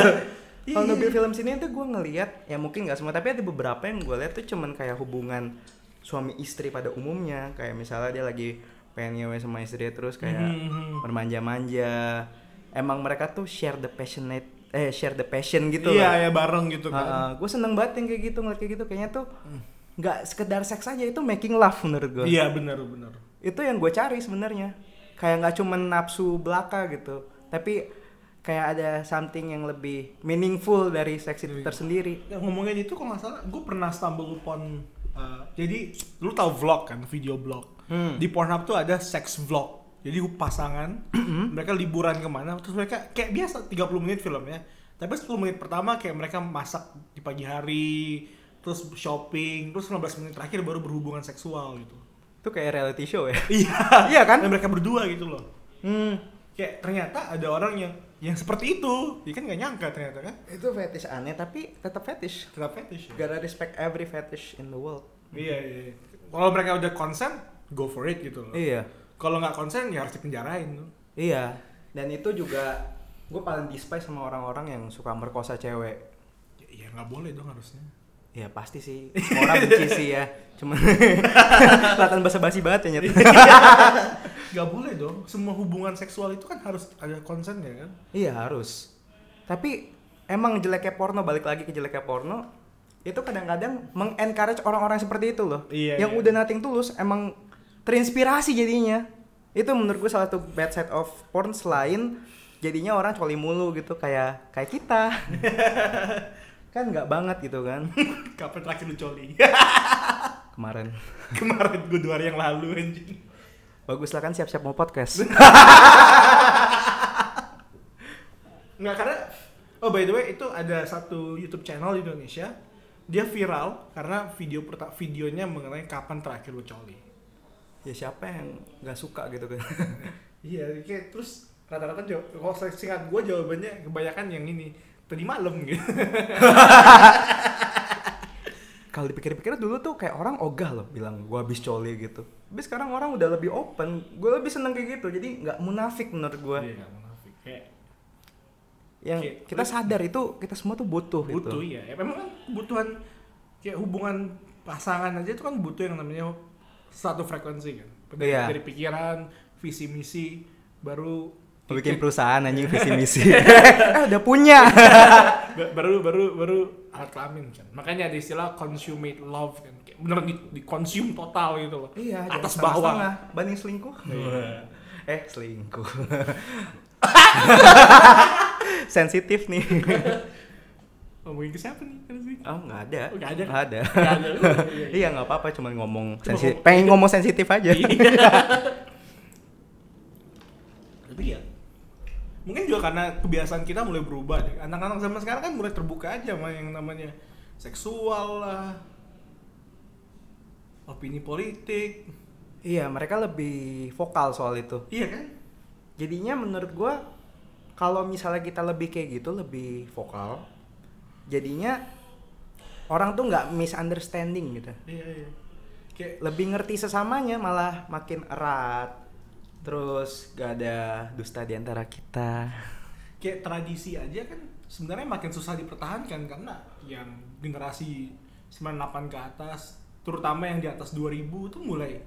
Speaker 1: Iya,
Speaker 2: kalau
Speaker 1: iya.
Speaker 2: ngambil film sini tuh gua ngelihat ya mungkin nggak semua tapi ada beberapa yang gua lihat tuh cuman kayak hubungan suami istri pada umumnya kayak misalnya dia lagi pengen ngewe sama istri terus kayak
Speaker 1: Mhm.
Speaker 2: bermanja-manja emang mereka tuh share the passionate eh share the passion gitu
Speaker 1: Iya
Speaker 2: loh
Speaker 1: ya bareng gitu kan. Mm.
Speaker 2: gue seneng banget yang kayak gitu ngeliat kayak gitu kayaknya tuh nggak sekedar seks aja itu making love menurut gue
Speaker 1: Iya benar benar.
Speaker 2: itu yang gue cari sebenarnya kayak nggak cuman nafsu belaka gitu tapi kayak ada something yang lebih meaningful dari seks itu tersendiri
Speaker 1: Ya, ngomongin itu kalau nggak salah, gue pernah stumble upon uh, jadi lu tahu vlog kan, video blog.
Speaker 2: Hmm.
Speaker 1: Di Pornhub tuh ada sex vlog. Jadi pasangan
Speaker 2: Hmm.
Speaker 1: mereka liburan kemana, terus mereka kayak biasa 30 menit filmnya. Tapi 10 menit pertama kayak mereka masak di pagi hari, terus shopping, terus 15 menit terakhir baru berhubungan seksual gitu.
Speaker 2: itu kayak reality show ya
Speaker 1: Iya,
Speaker 2: Iya kan?
Speaker 1: Dan mereka berdua gitu loh.
Speaker 2: hmm.
Speaker 1: Kayak ternyata ada orang yang yang seperti itu, ya kan nggak nyangka ternyata kan.
Speaker 2: itu fetish aneh tapi tetap fetish
Speaker 1: Tetap fetish. ya.
Speaker 2: gotta respect every fetish in the world
Speaker 1: Iya, iya. iya. Kalau mereka udah konsen, go for it gitu loh.
Speaker 2: iya
Speaker 1: Kalau nggak konsen ya harus dipenjarain tuh.
Speaker 2: Iya, dan itu juga gue paling despise sama orang-orang yang suka merkosa cewek.
Speaker 1: Ya, ya nggak boleh dong harusnya.
Speaker 2: Ya pasti sih, semua orang benci sih ya. Cuman latan basa-basi banget ya nyet.
Speaker 1: Nggak boleh dong. Semua hubungan seksual itu kan harus ada konsen ya kan.
Speaker 2: iya harus. Tapi emang jeleknya porno balik lagi ke jeleknya porno itu kadang-kadang mengencourage orang-orang seperti itu loh.
Speaker 1: Iya, iya.
Speaker 2: yang udah nothing tulus emang terinspirasi jadinya. Itu menurut gue salah satu bad side of porn selain jadinya orang coli mulu gitu kayak kayak kita. kan nggak banget gitu kan.
Speaker 1: Kapan terakhir lu coli?
Speaker 2: kemarin.
Speaker 1: Kemarin gue dua hari yang lalu anjing.
Speaker 2: Baguslah kan siap-siap mau podcast.
Speaker 1: Nggak karena oh by the way itu ada satu YouTube channel di Indonesia dia viral karena video perta- videonya mengenai kapan terakhir lu coli.
Speaker 2: ya siapa yang nggak suka gitu kan?
Speaker 1: Iya, kayak terus rata-rata jawab, kalau saya singkat gue jawabannya kebanyakan yang ini tadi malam gitu.
Speaker 2: Kalau dipikir-pikir dulu tuh kayak orang ogah loh bilang gua habis coli gitu. Tapi sekarang orang udah lebih open, gue lebih seneng kayak gitu. Jadi nggak munafik menurut gua.
Speaker 1: Iya, nggak munafik. Kayak
Speaker 2: Yang
Speaker 1: Iya.
Speaker 2: kita sadar itu kita semua tuh butuh,
Speaker 1: butuh
Speaker 2: gitu.
Speaker 1: ya. ya. Memang kan kebutuhan kayak hubungan pasangan aja itu kan butuh yang namanya satu frekuensi kan. Dari,
Speaker 2: Iya.
Speaker 1: dari pikiran, visi misi, baru
Speaker 2: Mau
Speaker 1: Iya.
Speaker 2: bikin perusahaan anjing visi misi. eh, udah punya.
Speaker 1: ba- baru baru baru alat kelamin kan. Makanya ada istilah consummate love kan. Kayak bener di, di consume total gitu loh.
Speaker 2: iya, jangan
Speaker 1: atas bawah.
Speaker 2: setengah-setengah. Banding selingkuh.
Speaker 1: Iya.
Speaker 2: eh, selingkuh. Sensitif nih.
Speaker 1: Ngomongin Oh, ke siapa nih? Kan sih?
Speaker 2: Oh nggak ada.
Speaker 1: Oh, nggak ada.
Speaker 2: Nggak ada.
Speaker 1: Nggak ada. Iya, iya.
Speaker 2: iya nggak apa-apa, cuman ngomong
Speaker 1: Cuma
Speaker 2: sensitif.
Speaker 1: ngomong- gitu.
Speaker 2: Pengen ngomong sensitif aja.
Speaker 1: Iya. Tapi ya mungkin juga karena kebiasaan kita mulai berubah deh. Anak-anak zaman sekarang kan mulai terbuka aja sama yang namanya seksual lah, opini politik,
Speaker 2: iya, mereka lebih vokal soal itu.
Speaker 1: iya kan?
Speaker 2: Jadinya menurut gua kalau misalnya kita lebih kayak gitu, lebih vokal, jadinya orang tuh nggak misunderstanding gitu.
Speaker 1: Iya iya. Kayak
Speaker 2: Lebih ngerti sesamanya, malah makin erat. Terus gak ada dusta di antara kita.
Speaker 1: kayak tradisi aja kan sebenarnya makin susah dipertahankan karena yang generasi 98 ke atas terutama yang di atas 2000 itu mulai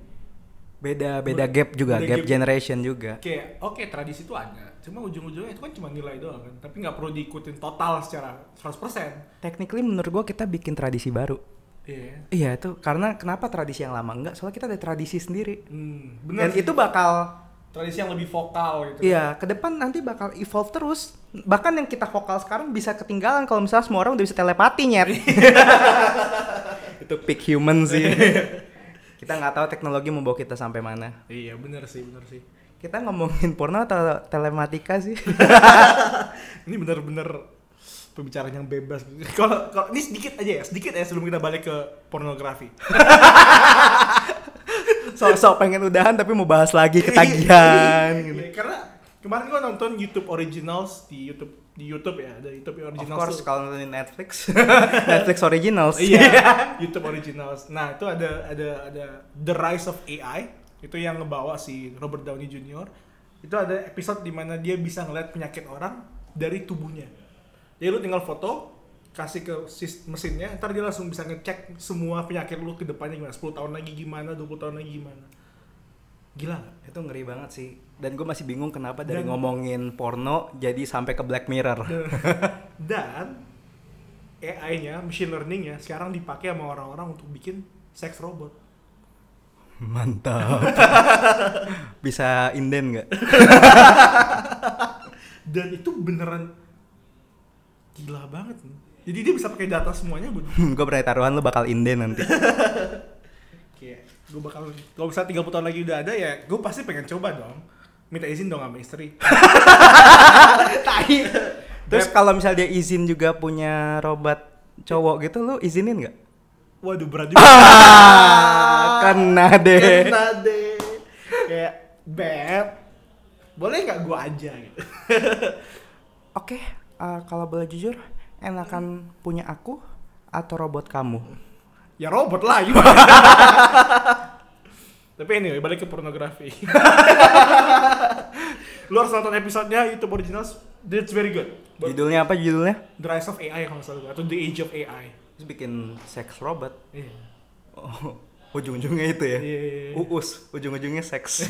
Speaker 2: Beda beda gap juga,
Speaker 1: Beda
Speaker 2: gap,
Speaker 1: gap.
Speaker 2: generation juga.
Speaker 1: kayak oke tradisi itu ada cuma ujung-ujungnya itu kan cuma nilai doang kan tapi nggak perlu diikutin total secara 100%
Speaker 2: Technically menurut gua kita bikin tradisi baru.
Speaker 1: iya
Speaker 2: Iya itu karena kenapa tradisi yang lama enggak? Soalnya kita ada tradisi sendiri.
Speaker 1: hmm, bener
Speaker 2: Dan
Speaker 1: sih.
Speaker 2: itu bakal
Speaker 1: tradisi yang lebih vokal gitu
Speaker 2: iya ke depan nanti bakal evolve terus. Bahkan yang kita vokal sekarang bisa ketinggalan kalau misalnya semua orang udah bisa telepati nyet. itu peak human sih. kita nggak tahu teknologi membawa kita sampai mana.
Speaker 1: iya bener sih bener sih
Speaker 2: Kita ngomongin porno atau telematika sih?
Speaker 1: ini bener-bener pembicaraan yang bebas. Kalau kalau ini sedikit aja ya, sedikit ya sebelum kita balik ke pornografi.
Speaker 2: Sok-sok pengen udahan tapi mau bahas lagi ketagihan gitu.
Speaker 1: Iya, karena kemarin gua nonton YouTube Originals di YouTube di YouTube ya, ada YouTube
Speaker 2: Of
Speaker 1: Originals.
Speaker 2: course
Speaker 1: tuh.
Speaker 2: kalau nonton Netflix, Netflix Originals.
Speaker 1: Iya, YouTube Originals. Nah, itu ada ada ada The Rise of AI. Itu yang ngebawa si Robert Downey Jr. Itu ada episode di mana dia bisa ngeliat penyakit orang dari tubuhnya. Jadi lu tinggal foto, kasih ke sis- mesinnya, ntar dia langsung bisa ngecek semua penyakit lu ke depannya gimana. 10 tahun lagi gimana, 20 tahun lagi gimana. Gila nggak?
Speaker 2: Itu ngeri banget sih. Dan gue masih bingung kenapa dari
Speaker 1: Dan-
Speaker 2: ngomongin porno jadi sampai ke Black Mirror.
Speaker 1: Dan AI-nya, machine learning-nya sekarang dipakai sama orang-orang untuk bikin sex robot.
Speaker 2: Mantap. Bisa inden nggak?
Speaker 1: dan itu beneran gila banget nih. jadi dia bisa pakai data semuanya gue
Speaker 2: gue berani taruhan lu bakal inden nanti.
Speaker 1: kayak gue bakal kalau bisa 30 tahun lagi udah ada ya gue pasti pengen coba dong minta izin dong sama istri
Speaker 2: Terus kalau misal dia izin juga punya robot cowok gitu lu izinin nggak?
Speaker 1: waduh berat juga
Speaker 2: Ah, kena deh.
Speaker 1: kena deh kayak beb boleh nggak gue aja gitu
Speaker 2: Oke, eh, kalau boleh jujur, enakan punya aku atau robot kamu?
Speaker 1: ya robot lah gimana tapi anyway balik ke pornografi lu harus nonton episodenya YouTube originals that's very good Buat
Speaker 2: Judulnya apa judulnya?
Speaker 1: The Rise of AI kalau nggak salah atau The Age of AI.
Speaker 2: Terus bikin sex robot.
Speaker 1: Iya.
Speaker 2: Oh, ujung-ujungnya itu ya.
Speaker 1: Iya, iya, iya.
Speaker 2: Uus, ujung-ujungnya seks.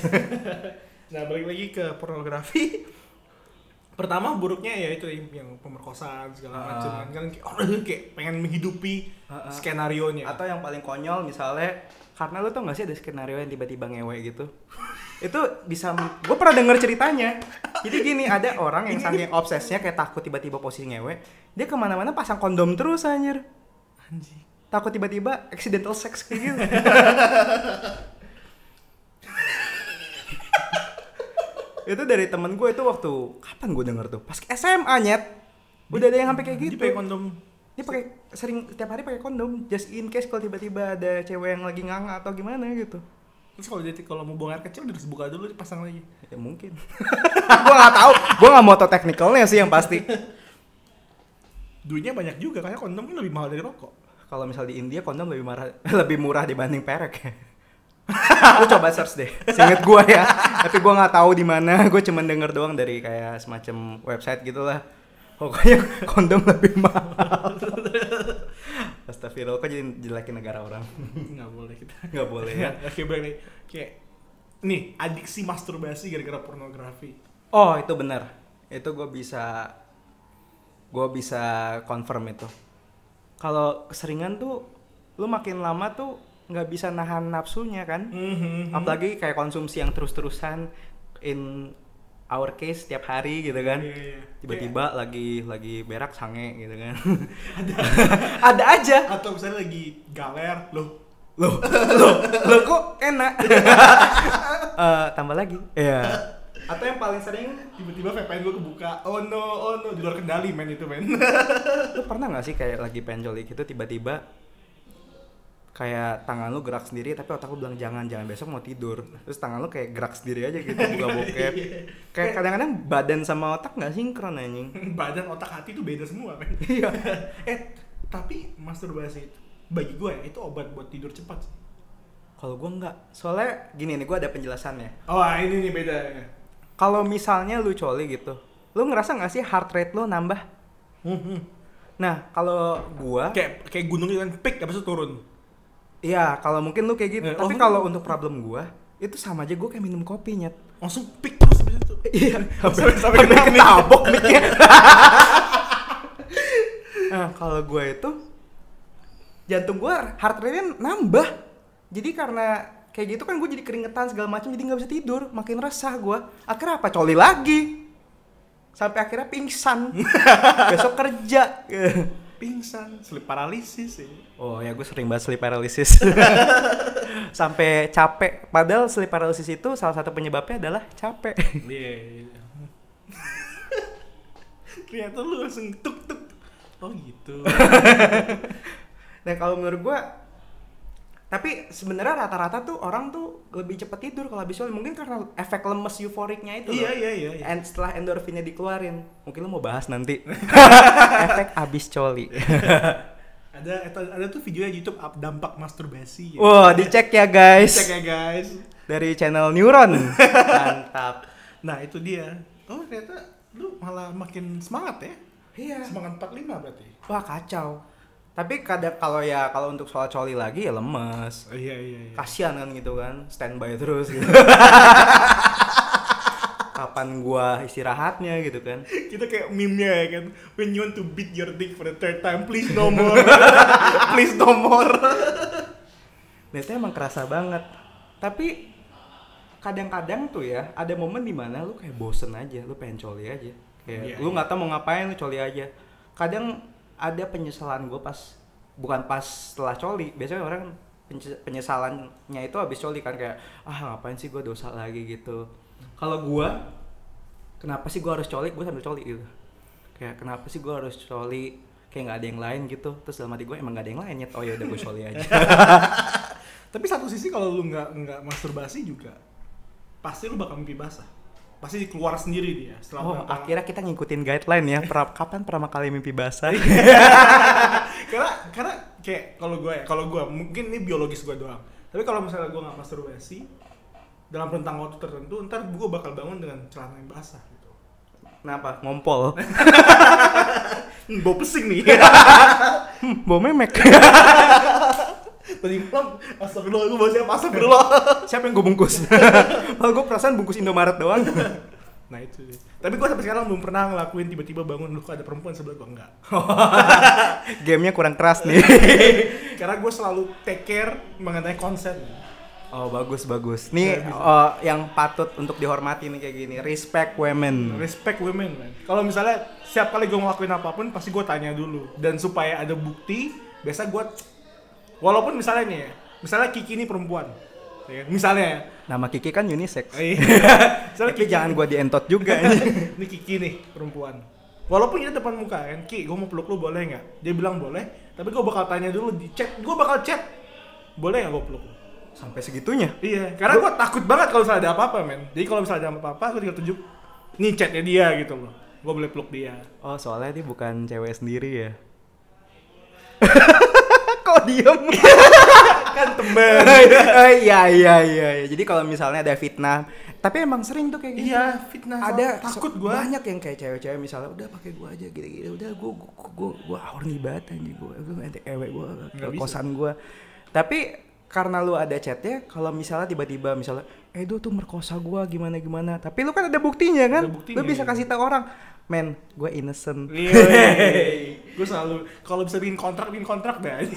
Speaker 1: Nah balik lagi ke pornografi. Pertama buruknya ya itu yang pemerkosaan segala
Speaker 2: Ah.
Speaker 1: macam kan kayak orang kayak pengen menghidupi
Speaker 2: Ah, ah.
Speaker 1: skenario nya.
Speaker 2: Atau yang paling konyol misalnya karena lu tau gak sih ada skenario yang tiba-tiba ngewe gitu. itu bisa gue pernah denger ceritanya. Jadi gini ada orang yang saking obsesnya kayak takut tiba-tiba posisi ngewe, dia kemana-mana pasang kondom terus anjir.
Speaker 1: Anjing.
Speaker 2: Takut tiba-tiba accidental sex kayak gitu. itu dari temen gue itu waktu kapan gue denger tuh pas SMA nyet udah ada yang sampai kayak gitu
Speaker 1: Dia pakai kondom.
Speaker 2: dia pakai sering tiap hari pakai kondom just in case kalau tiba-tiba ada cewek yang lagi nganga atau gimana gitu
Speaker 1: Terus kalau jadi kalau mau buang air kecil harus buka dulu dipasang lagi.
Speaker 2: ya mungkin gua nggak tahu gua nggak mau tau teknikalnya sih yang pasti
Speaker 1: Duitnya banyak juga karena kondom kan lebih mahal dari rokok.
Speaker 2: kalau misal di India kondom lebih marah lebih murah dibanding perek ya. lu coba search deh seinget gua ya tapi gua nggak tahu di mana gue cuman denger doang dari kayak semacam website gitulah pokoknya kondom lebih mahal Astagfirullah, kok jadi jelekin negara orang?
Speaker 1: Nggak boleh kita.
Speaker 2: Nggak boleh ya?
Speaker 1: Oke balik nih. Kayak nih adiksi masturbasi gara-gara pornografi.
Speaker 2: Oh itu benar. Itu gue bisa gue bisa confirm itu. Kalau keseringan tuh lu makin lama tuh nggak bisa nahan nafsunya kan.
Speaker 1: Mhm.
Speaker 2: Apalagi kayak konsumsi yang terus-terusan in our case tiap hari gitu kan.
Speaker 1: Iya, iya.
Speaker 2: Tiba-tiba lagi lagi berak sange gitu kan. ada ada aja.
Speaker 1: atau misalnya lagi galer loh
Speaker 2: Loh, loh,
Speaker 1: Oh.
Speaker 2: loh kok enak. Eh, tambah lagi. Iya.
Speaker 1: atau yang paling sering tiba-tiba VPN gue kebuka oh no oh no di luar kendali men itu men
Speaker 2: lu pernah nggak sih kayak lagi penjoli gitu tiba-tiba kayak tangan lu gerak sendiri tapi otak lu bilang jangan jangan besok mau tidur terus tangan lu kayak gerak sendiri aja gitu buka bokep
Speaker 1: Iya.
Speaker 2: kayak kadang-kadang badan sama otak nggak sinkron anjing
Speaker 1: badan otak hati itu beda semua men
Speaker 2: Iya.
Speaker 1: eh tapi masturbasi itu bagi gue ya itu obat buat tidur cepat sih.
Speaker 2: kalau gua nggak soalnya gini nih gua ada penjelasannya
Speaker 1: oh ah, ini nih beda
Speaker 2: kalau misalnya lu coli gitu lu ngerasa nggak sih heart rate lu nambah
Speaker 1: Mhm.
Speaker 2: nah kalau gua
Speaker 1: kayak kayak gunung itu kan peak habis itu turun
Speaker 2: iya kalau mungkin lu kayak gitu
Speaker 1: Eh,
Speaker 2: tapi
Speaker 1: oh.
Speaker 2: kalau untuk problem gua itu sama aja gua kayak minum kopi nyet
Speaker 1: langsung peak terus habis itu
Speaker 2: Iya,
Speaker 1: Sampai-
Speaker 2: sampai
Speaker 1: sampai
Speaker 2: sampai
Speaker 1: kena mic.
Speaker 2: ketabok mic-nya. nah, kalau gue itu jantung gue heart rate-nya nambah. Jadi karena kayak gitu kan gue jadi keringetan segala macam jadi nggak bisa tidur, makin resah gue. Akhirnya apa? Coli lagi. Sampai akhirnya pingsan. Besok kerja.
Speaker 1: pingsan, sleep paralysis ya.
Speaker 2: Oh ya gue sering banget sleep paralysis Sampai capek Padahal sleep paralysis itu salah satu penyebabnya adalah capek
Speaker 1: Iya. iya. Ternyata lu langsung tuk tuk. Oh gitu.
Speaker 2: Nah kalau menurut gue Tapi sebenarnya rata-rata tuh orang tuh lebih cepat tidur kalau habis sholat Mungkin karena efek lemes euforiknya itu
Speaker 1: iya
Speaker 2: loh.
Speaker 1: iya iya. iya.
Speaker 2: And setelah endorfinnya dikeluarin Mungkin lu mau bahas nanti Efek abis coli
Speaker 1: Ada eta- ada tuh video di YouTube up dampak masturbasi. Ya.
Speaker 2: Wah dicek ya guys
Speaker 1: Cek ya guys.
Speaker 2: Dari channel Neuron Mantap
Speaker 1: Nah itu dia. Oh ternyata lu malah makin semangat ya.
Speaker 2: Iya
Speaker 1: Semangat 45 berarti.
Speaker 2: Wah kacau. Tapi kadang kalau ya kalau untuk soal coli lagi ya lemes.
Speaker 1: iya iya iya.
Speaker 2: Kasian kan gitu kan, standby terus gitu. Kapan gua istirahatnya gitu kan.
Speaker 1: Kita kayak meme-nya ya kan. When you want to beat your dick for the third time, please no more. please no more.
Speaker 2: Nah, itu emang kerasa banget. Tapi kadang-kadang tuh ya ada momen dimana lu kayak bosen aja, lu pengen coli aja.
Speaker 1: Iya,
Speaker 2: Kayak lu nggak tahu mau ngapain, lu coli aja. Kadang ada penyesalan gue pas bukan pas setelah coli. Biasanya orang penye- penyesalannya itu habis coli kan kayak ah ngapain sih gue dosa lagi gitu. Kalau gua kenapa sih gua harus coli? Gue sambil coli gitu. Kayak kenapa sih gua harus coli? Kayak nggak ada yang lain gitu. Terus dalam hati gue emang nggak ada yang lain ya. Oh ya udah gue coli aja.
Speaker 1: Tapi satu sisi kalau lu nggak nggak masturbasi juga, pasti lu bakal mimpi basah. Pasti keluar sendiri dia. Setelah
Speaker 2: Oh,
Speaker 1: berapa-
Speaker 2: akhirnya kita ngikutin guideline ya. pra- kapan pertama kali mimpi basah?
Speaker 1: karena karena kayak kalau gue ya, kalau gue mungkin ini biologis gue doang. Tapi kalau misalnya gue nggak masturbasi dalam rentang waktu tertentu, ntar gue bakal bangun dengan celana yang basah gitu.
Speaker 2: Kenapa? Ngompol.
Speaker 1: Hmm, bau pesing nih.
Speaker 2: Hmm, Bau memek.
Speaker 1: Tadi malam, astagfirullah, gue bawa siapa? Astagfirullah.
Speaker 2: Siapa yang gue bungkus? Kalau gue perasaan bungkus Indomaret doang.
Speaker 1: Nah itu sih. Tapi gue sampai sekarang belum pernah ngelakuin tiba-tiba bangun lu kok ada perempuan sebelah gue enggak.
Speaker 2: Gamenya kurang keras nih.
Speaker 1: Karena gue selalu take care mengenai konsen.
Speaker 2: Oh bagus bagus. Nih
Speaker 1: Ya, bisa.
Speaker 2: eh, yang patut untuk dihormati nih kayak gini. Respect women.
Speaker 1: Respect women man. Kalau misalnya setiap kali gue ngelakuin apapun pasti gue tanya dulu. Dan supaya ada bukti, biasa gue walaupun misalnya nih ya, misalnya Kiki ini perempuan. Ya, kan? misalnya ya. Oh iya.
Speaker 2: Nama Kiki kan unisex.
Speaker 1: misalnya
Speaker 2: Tapi jangan gue dientot juga. ini.
Speaker 1: ini Kiki nih perempuan walaupun kita depan muka kan Ki gue mau peluk lu boleh nggak dia bilang boleh tapi gue bakal tanya dulu di chat gue bakal chat boleh nggak gue peluk lu?
Speaker 2: Sampai segitunya.
Speaker 1: iya karena gue takut banget kalau misalnya ada apa-apa men jadi kalau misalnya ada apa-apa gue tinggal tunjuk nih chatnya dia gitu loh gue boleh peluk dia
Speaker 2: Oh soalnya dia bukan cewek sendiri ya. Kok diem?
Speaker 1: kan temen
Speaker 2: Eh, iya iya iya iya. jadi kalau misalnya ada fitnah tapi emang sering tuh kayak gitu
Speaker 1: iya fitnah
Speaker 2: ada
Speaker 1: takut
Speaker 2: so-
Speaker 1: gue
Speaker 2: banyak yang kayak cewek-cewek misalnya udah pakai gua aja gini-gini udah gua gua gua gua, gua horny banget anjing gua gua nanti ewek gua ke
Speaker 1: Nggak bisa.
Speaker 2: kosan gua tapi karena lu ada chatnya kalau misalnya tiba-tiba misalnya Edo tuh merkosa gua gimana gimana tapi lu kan ada buktinya kan
Speaker 1: Ada buktinya,
Speaker 2: lu bisa
Speaker 1: iya.
Speaker 2: kasih tahu orang men gua innocent
Speaker 1: gue iya, selalu kalau bisa bikin kontrak bikin kontrak dah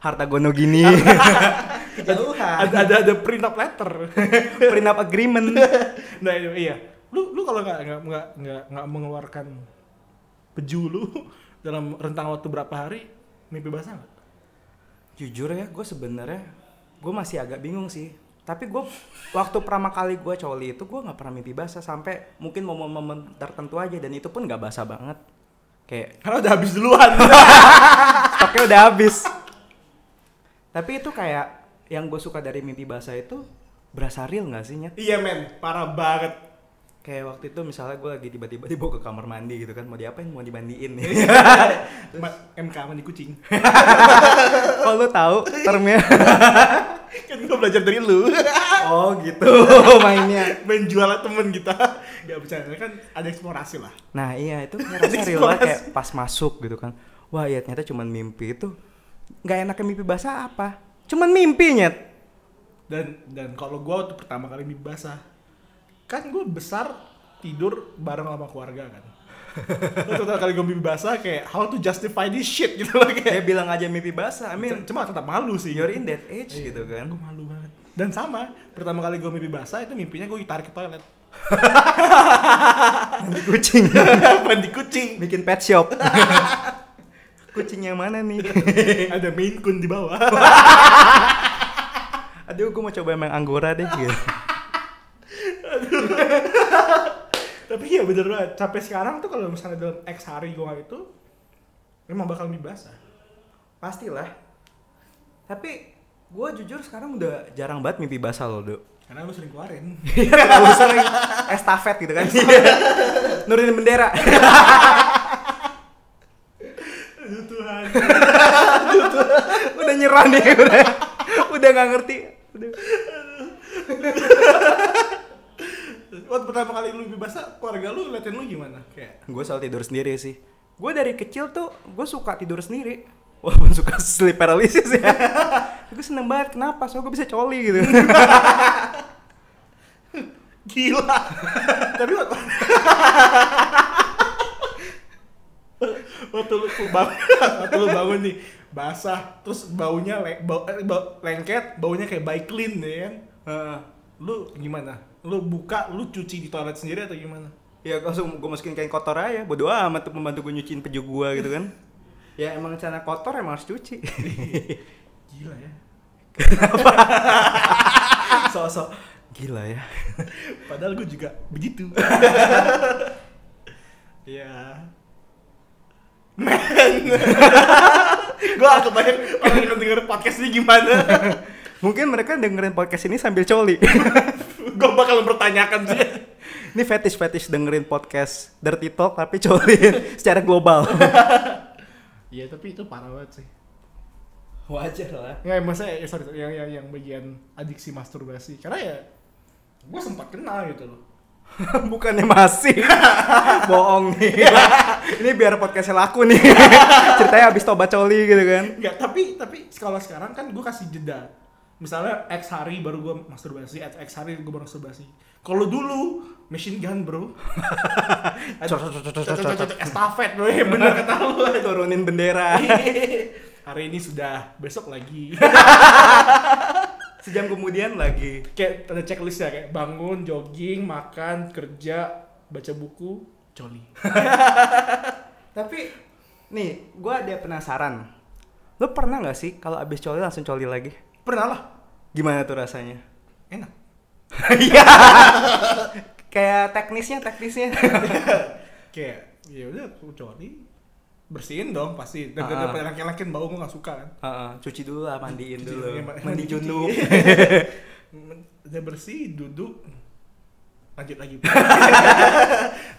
Speaker 2: harta gono gini
Speaker 1: ada ada ada print up letter
Speaker 2: prenup agreement
Speaker 1: nah itu, iya lu lu kalau nggak nggak nggak nggak nggak mengeluarkan peju lu dalam rentang waktu berapa hari mimpi basah nggak
Speaker 2: jujur ya gue sebenarnya gue masih agak bingung sih tapi gue waktu pertama kali gue coli itu gue nggak pernah mimpi basah sampai mungkin momen-momen tertentu aja dan itu pun nggak basah banget kayak
Speaker 1: karena udah habis duluan
Speaker 2: stoknya udah habis tapi itu kayak yang gue suka dari mimpi basah itu berasa real nggak sih Nyet?
Speaker 1: iya men parah banget
Speaker 2: kayak waktu itu misalnya gue lagi tiba-tiba dibawa ke kamar mandi gitu kan mau diapain mau dimandiin nih
Speaker 1: Ma- MK mandi kucing
Speaker 2: kalau lo tahu termnya
Speaker 1: kan gue belajar dari lu
Speaker 2: oh gitu mainnya
Speaker 1: main jualan temen kita nggak bercanda kan ada eksplorasi lah
Speaker 2: Nah iya itu kayak rasa real banget, kayak pas masuk gitu kan. Wah ya ternyata cuman mimpi itu. Nggak enaknya mimpi basah apa? Cuman mimpi nyet.
Speaker 1: dan dan kalau gue waktu pertama kali mimpi basah kan gue besar tidur bareng sama keluarga kan Lu pertama kali gue mimpi basah kayak how to justify this shit gitu loh kayak
Speaker 2: Dia bilang aja mimpi basah. I mean,
Speaker 1: cuma tetap malu sih
Speaker 2: you're in that age gitu
Speaker 1: ah,
Speaker 2: kan.
Speaker 1: Gue malu banget. Dan sama, pertama kali gue mimpi basah itu mimpinya gue ditarik ke toilet.
Speaker 2: Mandi kucing.
Speaker 1: mandi kucing
Speaker 2: Bikin pet shop. kucing yang mana nih?
Speaker 1: ada main kun di bawah
Speaker 2: Aduh, gue mau coba emang anggora deh. Gitu.
Speaker 1: tapi ya bener banget sampai sekarang tuh kalau misalnya dalam X hari gua itu memang bakal ah. mie basah
Speaker 2: Pastilah. Tapi gue jujur sekarang udah jarang banget mimpi basah loh, Dok.
Speaker 1: karena lu sering keluarin
Speaker 2: Terlalu sering estafet gitu kan. Nurunin bendera.
Speaker 1: aduh Tuhan
Speaker 2: udah nyerah nih, udah. Udah gak ngerti. Udah.
Speaker 1: waktu pertama kali lu mie basah keluarga lu ngeliatin lu gimana kayak
Speaker 2: Gue selalu tidur sendiri sih. Gue dari kecil tuh gue suka tidur sendiri. Walaupun suka sleep paralysis ya. gue seneng banget kenapa? Soalnya gue bisa coli gitu.
Speaker 1: gila tapi waktu waktu lu bangun waktu lu bangun nih basah terus baunya le- bau- eh, bau- lengket baunya kayak by clean ya kan
Speaker 2: Heeh.
Speaker 1: lu gimana lu buka lu cuci di toilet sendiri atau gimana
Speaker 2: ya langsung gue masukin kain kotor aja. Bodoh amat tuh membantu gue nyuciin peju gue gitu kan. ya emang celana kotor emang harus cuci.
Speaker 1: gila ya
Speaker 2: Sosok gila ya.
Speaker 1: Padahal gue juga begitu. ya. Men. gue agak banyak orang yang denger podcast ini gimana.
Speaker 2: Mungkin mereka dengerin podcast ini sambil coli.
Speaker 1: gue bakal mempertanyakan sih.
Speaker 2: ini fetish-fetish dengerin podcast Dirty Talk tapi coli secara global.
Speaker 1: Iya tapi itu parah banget sih.
Speaker 2: Wajar lah.
Speaker 1: Ya maksudnya ya, sorry, sorry, yang, yang yang bagian adiksi masturbasi karena ya gue sempat kenal gitu loh.
Speaker 2: Bukannya masih bohong nih. ini biar podcastnya laku nih. Ceritanya habis tobat coli gitu kan.
Speaker 1: Enggak, tapi tapi kalau sekarang kan gue kasih jeda. Misalnya X hari baru gue masturbasi, at X hari gue baru masturbasi. Kalau dulu machine gun bro,
Speaker 2: Cocok, cocok, cocok, cocok, cocok.
Speaker 1: cocok-cocok estafet bro, ya bener kata lu.
Speaker 2: Turunin bendera.
Speaker 1: Hari ini sudah, besok lagi.
Speaker 2: Sejam kemudian lagi.
Speaker 1: kayak ada checklist ya kayak bangun, jogging, makan, kerja, baca buku, coli.
Speaker 2: Tapi nih, gua ada penasaran. Lo pernah nggak sih kalau abis coli langsung coli lagi?
Speaker 1: Pernah lah,
Speaker 2: Gimana tuh rasanya?
Speaker 1: enak.
Speaker 2: Iya. Kayak teknisnya, teknisnya.
Speaker 1: Kayak ya udah aku coli, bersihin dong pasti. Dan
Speaker 2: Ah.
Speaker 1: daripada laki-laki bau gue gak suka kan.
Speaker 2: Heeh, cuci dulu lah,
Speaker 1: Cuci
Speaker 2: mandiin dulu.
Speaker 1: dulu,
Speaker 2: ya,
Speaker 1: ma-
Speaker 2: Iya, Mandi
Speaker 1: mandi cuci.
Speaker 2: junub.
Speaker 1: Men- udah bersih duduk lanjut lagi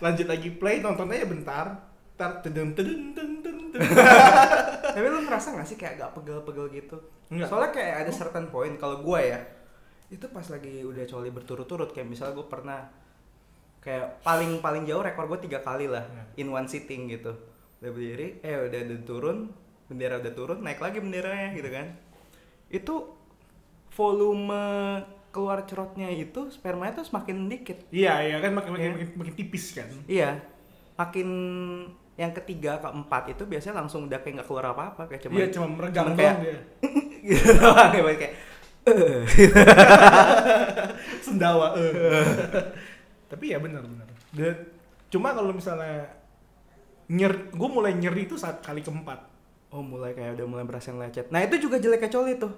Speaker 1: lanjut lagi play nonton aja bentar tar tedeng tedeng tedeng tedeng, tedeng.
Speaker 2: Tapi lu ngerasa gak sih kayak agak pegel-pegel gitu?
Speaker 1: Enggak.
Speaker 2: Soalnya kayak ada certain point kalau gua ya. Itu pas lagi udah coli berturut-turut kayak misalnya gua pernah kayak paling paling jauh rekor gua tiga kali lah in one sitting gitu. Udah berdiri, eh udah, udah turun, bendera udah turun, naik lagi benderanya gitu kan. Itu volume keluar cerotnya itu spermanya tuh semakin dikit.
Speaker 1: iya iya kan makin makin,
Speaker 2: Iya.
Speaker 1: makin, makin tipis kan
Speaker 2: Iya, makin yang ketiga keempat itu biasanya langsung udah kayak nggak keluar apa-apa kayak cuma
Speaker 1: iya cuma meregang
Speaker 2: cuman
Speaker 1: doang
Speaker 2: kayak-
Speaker 1: dia
Speaker 2: gitu doang kayak kayak "Eh."
Speaker 1: sendawa eh. tapi ya benar benar Dan- cuma kalau misalnya nyer gue mulai nyeri itu saat kali keempat
Speaker 2: oh mulai kayak udah mulai berasa lecet nah itu juga jeleknya coli tuh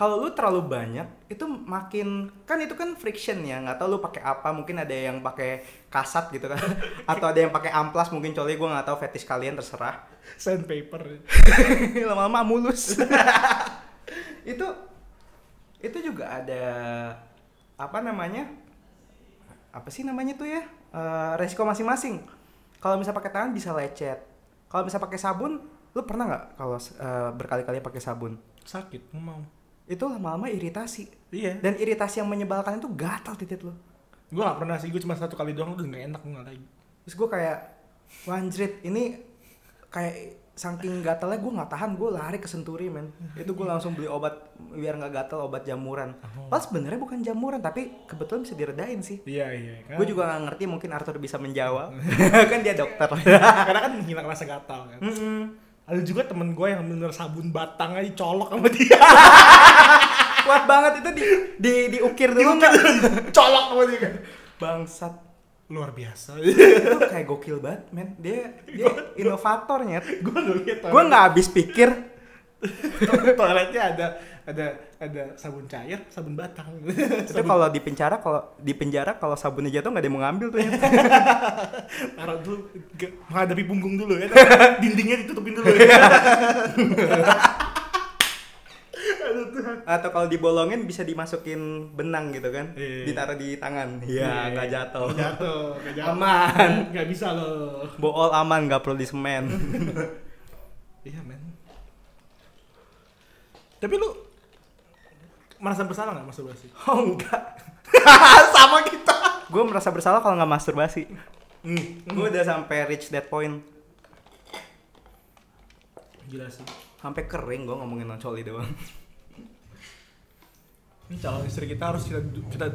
Speaker 2: kalau lu terlalu banyak itu makin kan itu kan friction ya nggak tahu lu pakai apa mungkin ada yang pakai kasat gitu kan atau ada yang pakai amplas mungkin coli gua nggak tahu fetish kalian terserah
Speaker 1: sandpaper
Speaker 2: lama-lama mulus itu itu juga ada apa namanya apa sih namanya tuh ya Eh, resiko masing-masing kalau misal pakai tangan bisa lecet kalau misal pakai sabun lu pernah nggak kalau eh, berkali-kali pakai sabun
Speaker 1: sakit nggak mau
Speaker 2: itu lama-lama iritasi
Speaker 1: iya
Speaker 2: dan iritasi yang menyebalkan itu gatal titik lu
Speaker 1: gue gak pernah sih gue cuma satu kali doang udah nggak enak gue nggak lagi
Speaker 2: terus gue kayak wanjrit ini kayak saking gatelnya gue nggak tahan gue lari ke senturi men itu gue langsung beli obat biar nggak gatel obat jamuran pas sebenarnya bukan jamuran tapi kebetulan bisa diredain sih
Speaker 1: iya iya kan
Speaker 2: gue juga nggak ngerti mungkin Arthur bisa menjawab kan dia dokter
Speaker 1: karena kan menghilang rasa gatal kan
Speaker 2: Hmm.
Speaker 1: ada juga temen gue yang bener sabun batang aja colok sama dia
Speaker 2: kuat banget itu di di diukir dulu nggak
Speaker 1: colok sama dia kan
Speaker 2: bangsat
Speaker 1: luar biasa
Speaker 2: itu kayak gokil banget men dia dia inovatornya
Speaker 1: gue udah lihat
Speaker 2: gue nggak habis pikir
Speaker 1: toiletnya ada ada ada sabun cair sabun batang
Speaker 2: itu kalau di penjara kalau di penjara kalau sabunnya jatuh nggak ada yang mau ngambil tuh ya
Speaker 1: taruh dulu ge- menghadapi punggung dulu ya taruh- dindingnya ditutupin dulu ya
Speaker 2: atau kalau dibolongin bisa dimasukin benang gitu kan
Speaker 1: Iya.
Speaker 2: ditaruh di tangan iya nggak jatuh
Speaker 1: Nggak jatuh nggak jatuh
Speaker 2: Aman.
Speaker 1: nggak bisa loh
Speaker 2: bool aman nggak perlu disemen
Speaker 1: iya men tapi lu merasa bersalah nggak masturbasi
Speaker 2: oh enggak
Speaker 1: sama kita
Speaker 2: gue merasa bersalah kalau nggak masturbasi gue udah sampai reach that point
Speaker 1: gila sih
Speaker 2: sampai kering gue ngomongin coli doang
Speaker 1: ini calon istri kita harus kita kita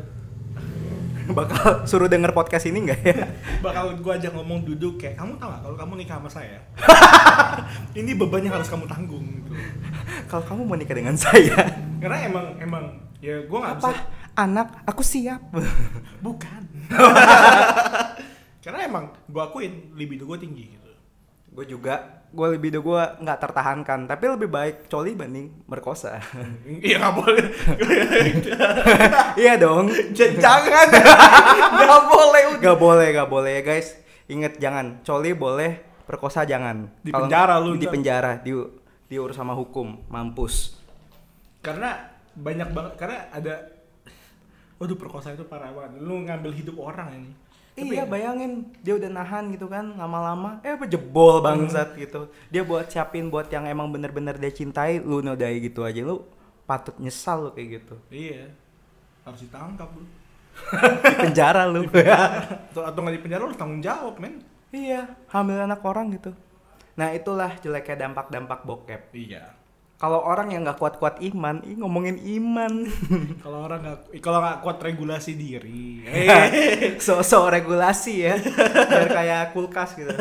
Speaker 2: bakal suruh denger podcast ini nggak ya
Speaker 1: bakal gua ajak ngomong duduk kayak kamu tau gak kalau kamu nikah sama saya ini bebannya harus kamu tanggung gitu
Speaker 2: kalau kamu mau nikah dengan saya
Speaker 1: karena emang emang ya gua nggak bisa
Speaker 2: apa anak aku siap
Speaker 1: bukan karena emang gua akuin libido gua tinggi gitu
Speaker 2: gue juga gue libido gue nggak tertahankan tapi lebih baik coli banding merkosa
Speaker 1: iya nggak boleh
Speaker 2: iya dong
Speaker 1: jangan nggak boleh
Speaker 2: nggak boleh nggak boleh ya guys inget jangan coli boleh perkosa jangan
Speaker 1: Di
Speaker 2: Kalau-
Speaker 1: penjara lu
Speaker 2: di
Speaker 1: ntar.
Speaker 2: penjara di diurus sama hukum mampus
Speaker 1: karena banyak banget karena ada waduh perkosa itu parah banget lu ngambil hidup orang ini ya,
Speaker 2: iya bayangin dia udah nahan gitu kan lama-lama eh apa jebol bangsat
Speaker 1: Hmm.
Speaker 2: gitu dia buat siapin buat yang emang bener-bener dia cintai lu nodai gitu aja lu patut nyesal lu kayak gitu
Speaker 1: iya harus ditangkap lu
Speaker 2: di penjara lu
Speaker 1: atau atau nggak di penjara lu harus tanggung jawab men
Speaker 2: iya hamil anak orang gitu nah itulah jeleknya dampak-dampak bokep
Speaker 1: iya
Speaker 2: kalau orang yang nggak kuat-kuat iman ih ngomongin iman
Speaker 1: kalau orang nggak kalau nggak kuat regulasi diri Eh,
Speaker 2: so-so regulasi ya biar kayak kulkas gitu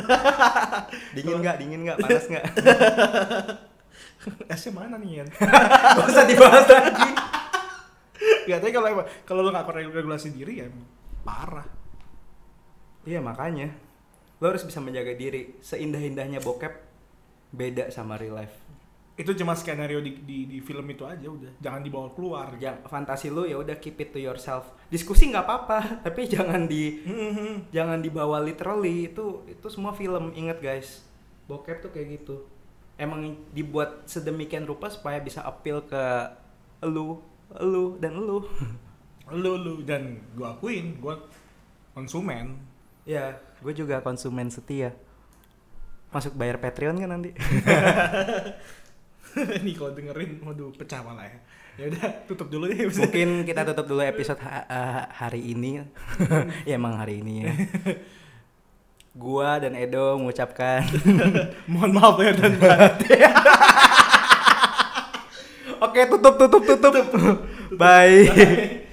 Speaker 2: dingin nggak dingin nggak panas nggak
Speaker 1: esnya mana nih Yan?
Speaker 2: nggak usah dibahas lagi
Speaker 1: Gak tapi kalau emang- kalau lu nggak kuat regulasi diri ya parah
Speaker 2: iya makanya lo harus bisa menjaga diri seindah-indahnya bokep beda sama real life
Speaker 1: itu cuma skenario di, di, di film itu aja udah jangan dibawa keluar
Speaker 2: Jangan- fantasi lo ya udah keep it to yourself diskusi nggak apa-apa tapi jangan di
Speaker 1: Mhm.
Speaker 2: jangan dibawa literally itu itu semua film ingat guys bokep tuh kayak gitu emang dibuat sedemikian rupa supaya bisa appeal ke lu lu dan lu
Speaker 1: lu lu dan gua akuin gua konsumen
Speaker 2: ya gue juga konsumen setia masuk bayar Patreon kan nanti
Speaker 1: ini kalau dengerin waduh pecah malah ya ya udah tutup dulu deh
Speaker 2: mungkin kita tutup dulu episode ha- ha- hari ini ya emang hari ini ya gua dan Edo mengucapkan
Speaker 1: mohon maaf ya dan batin.
Speaker 2: oke tutup tutup tutup bye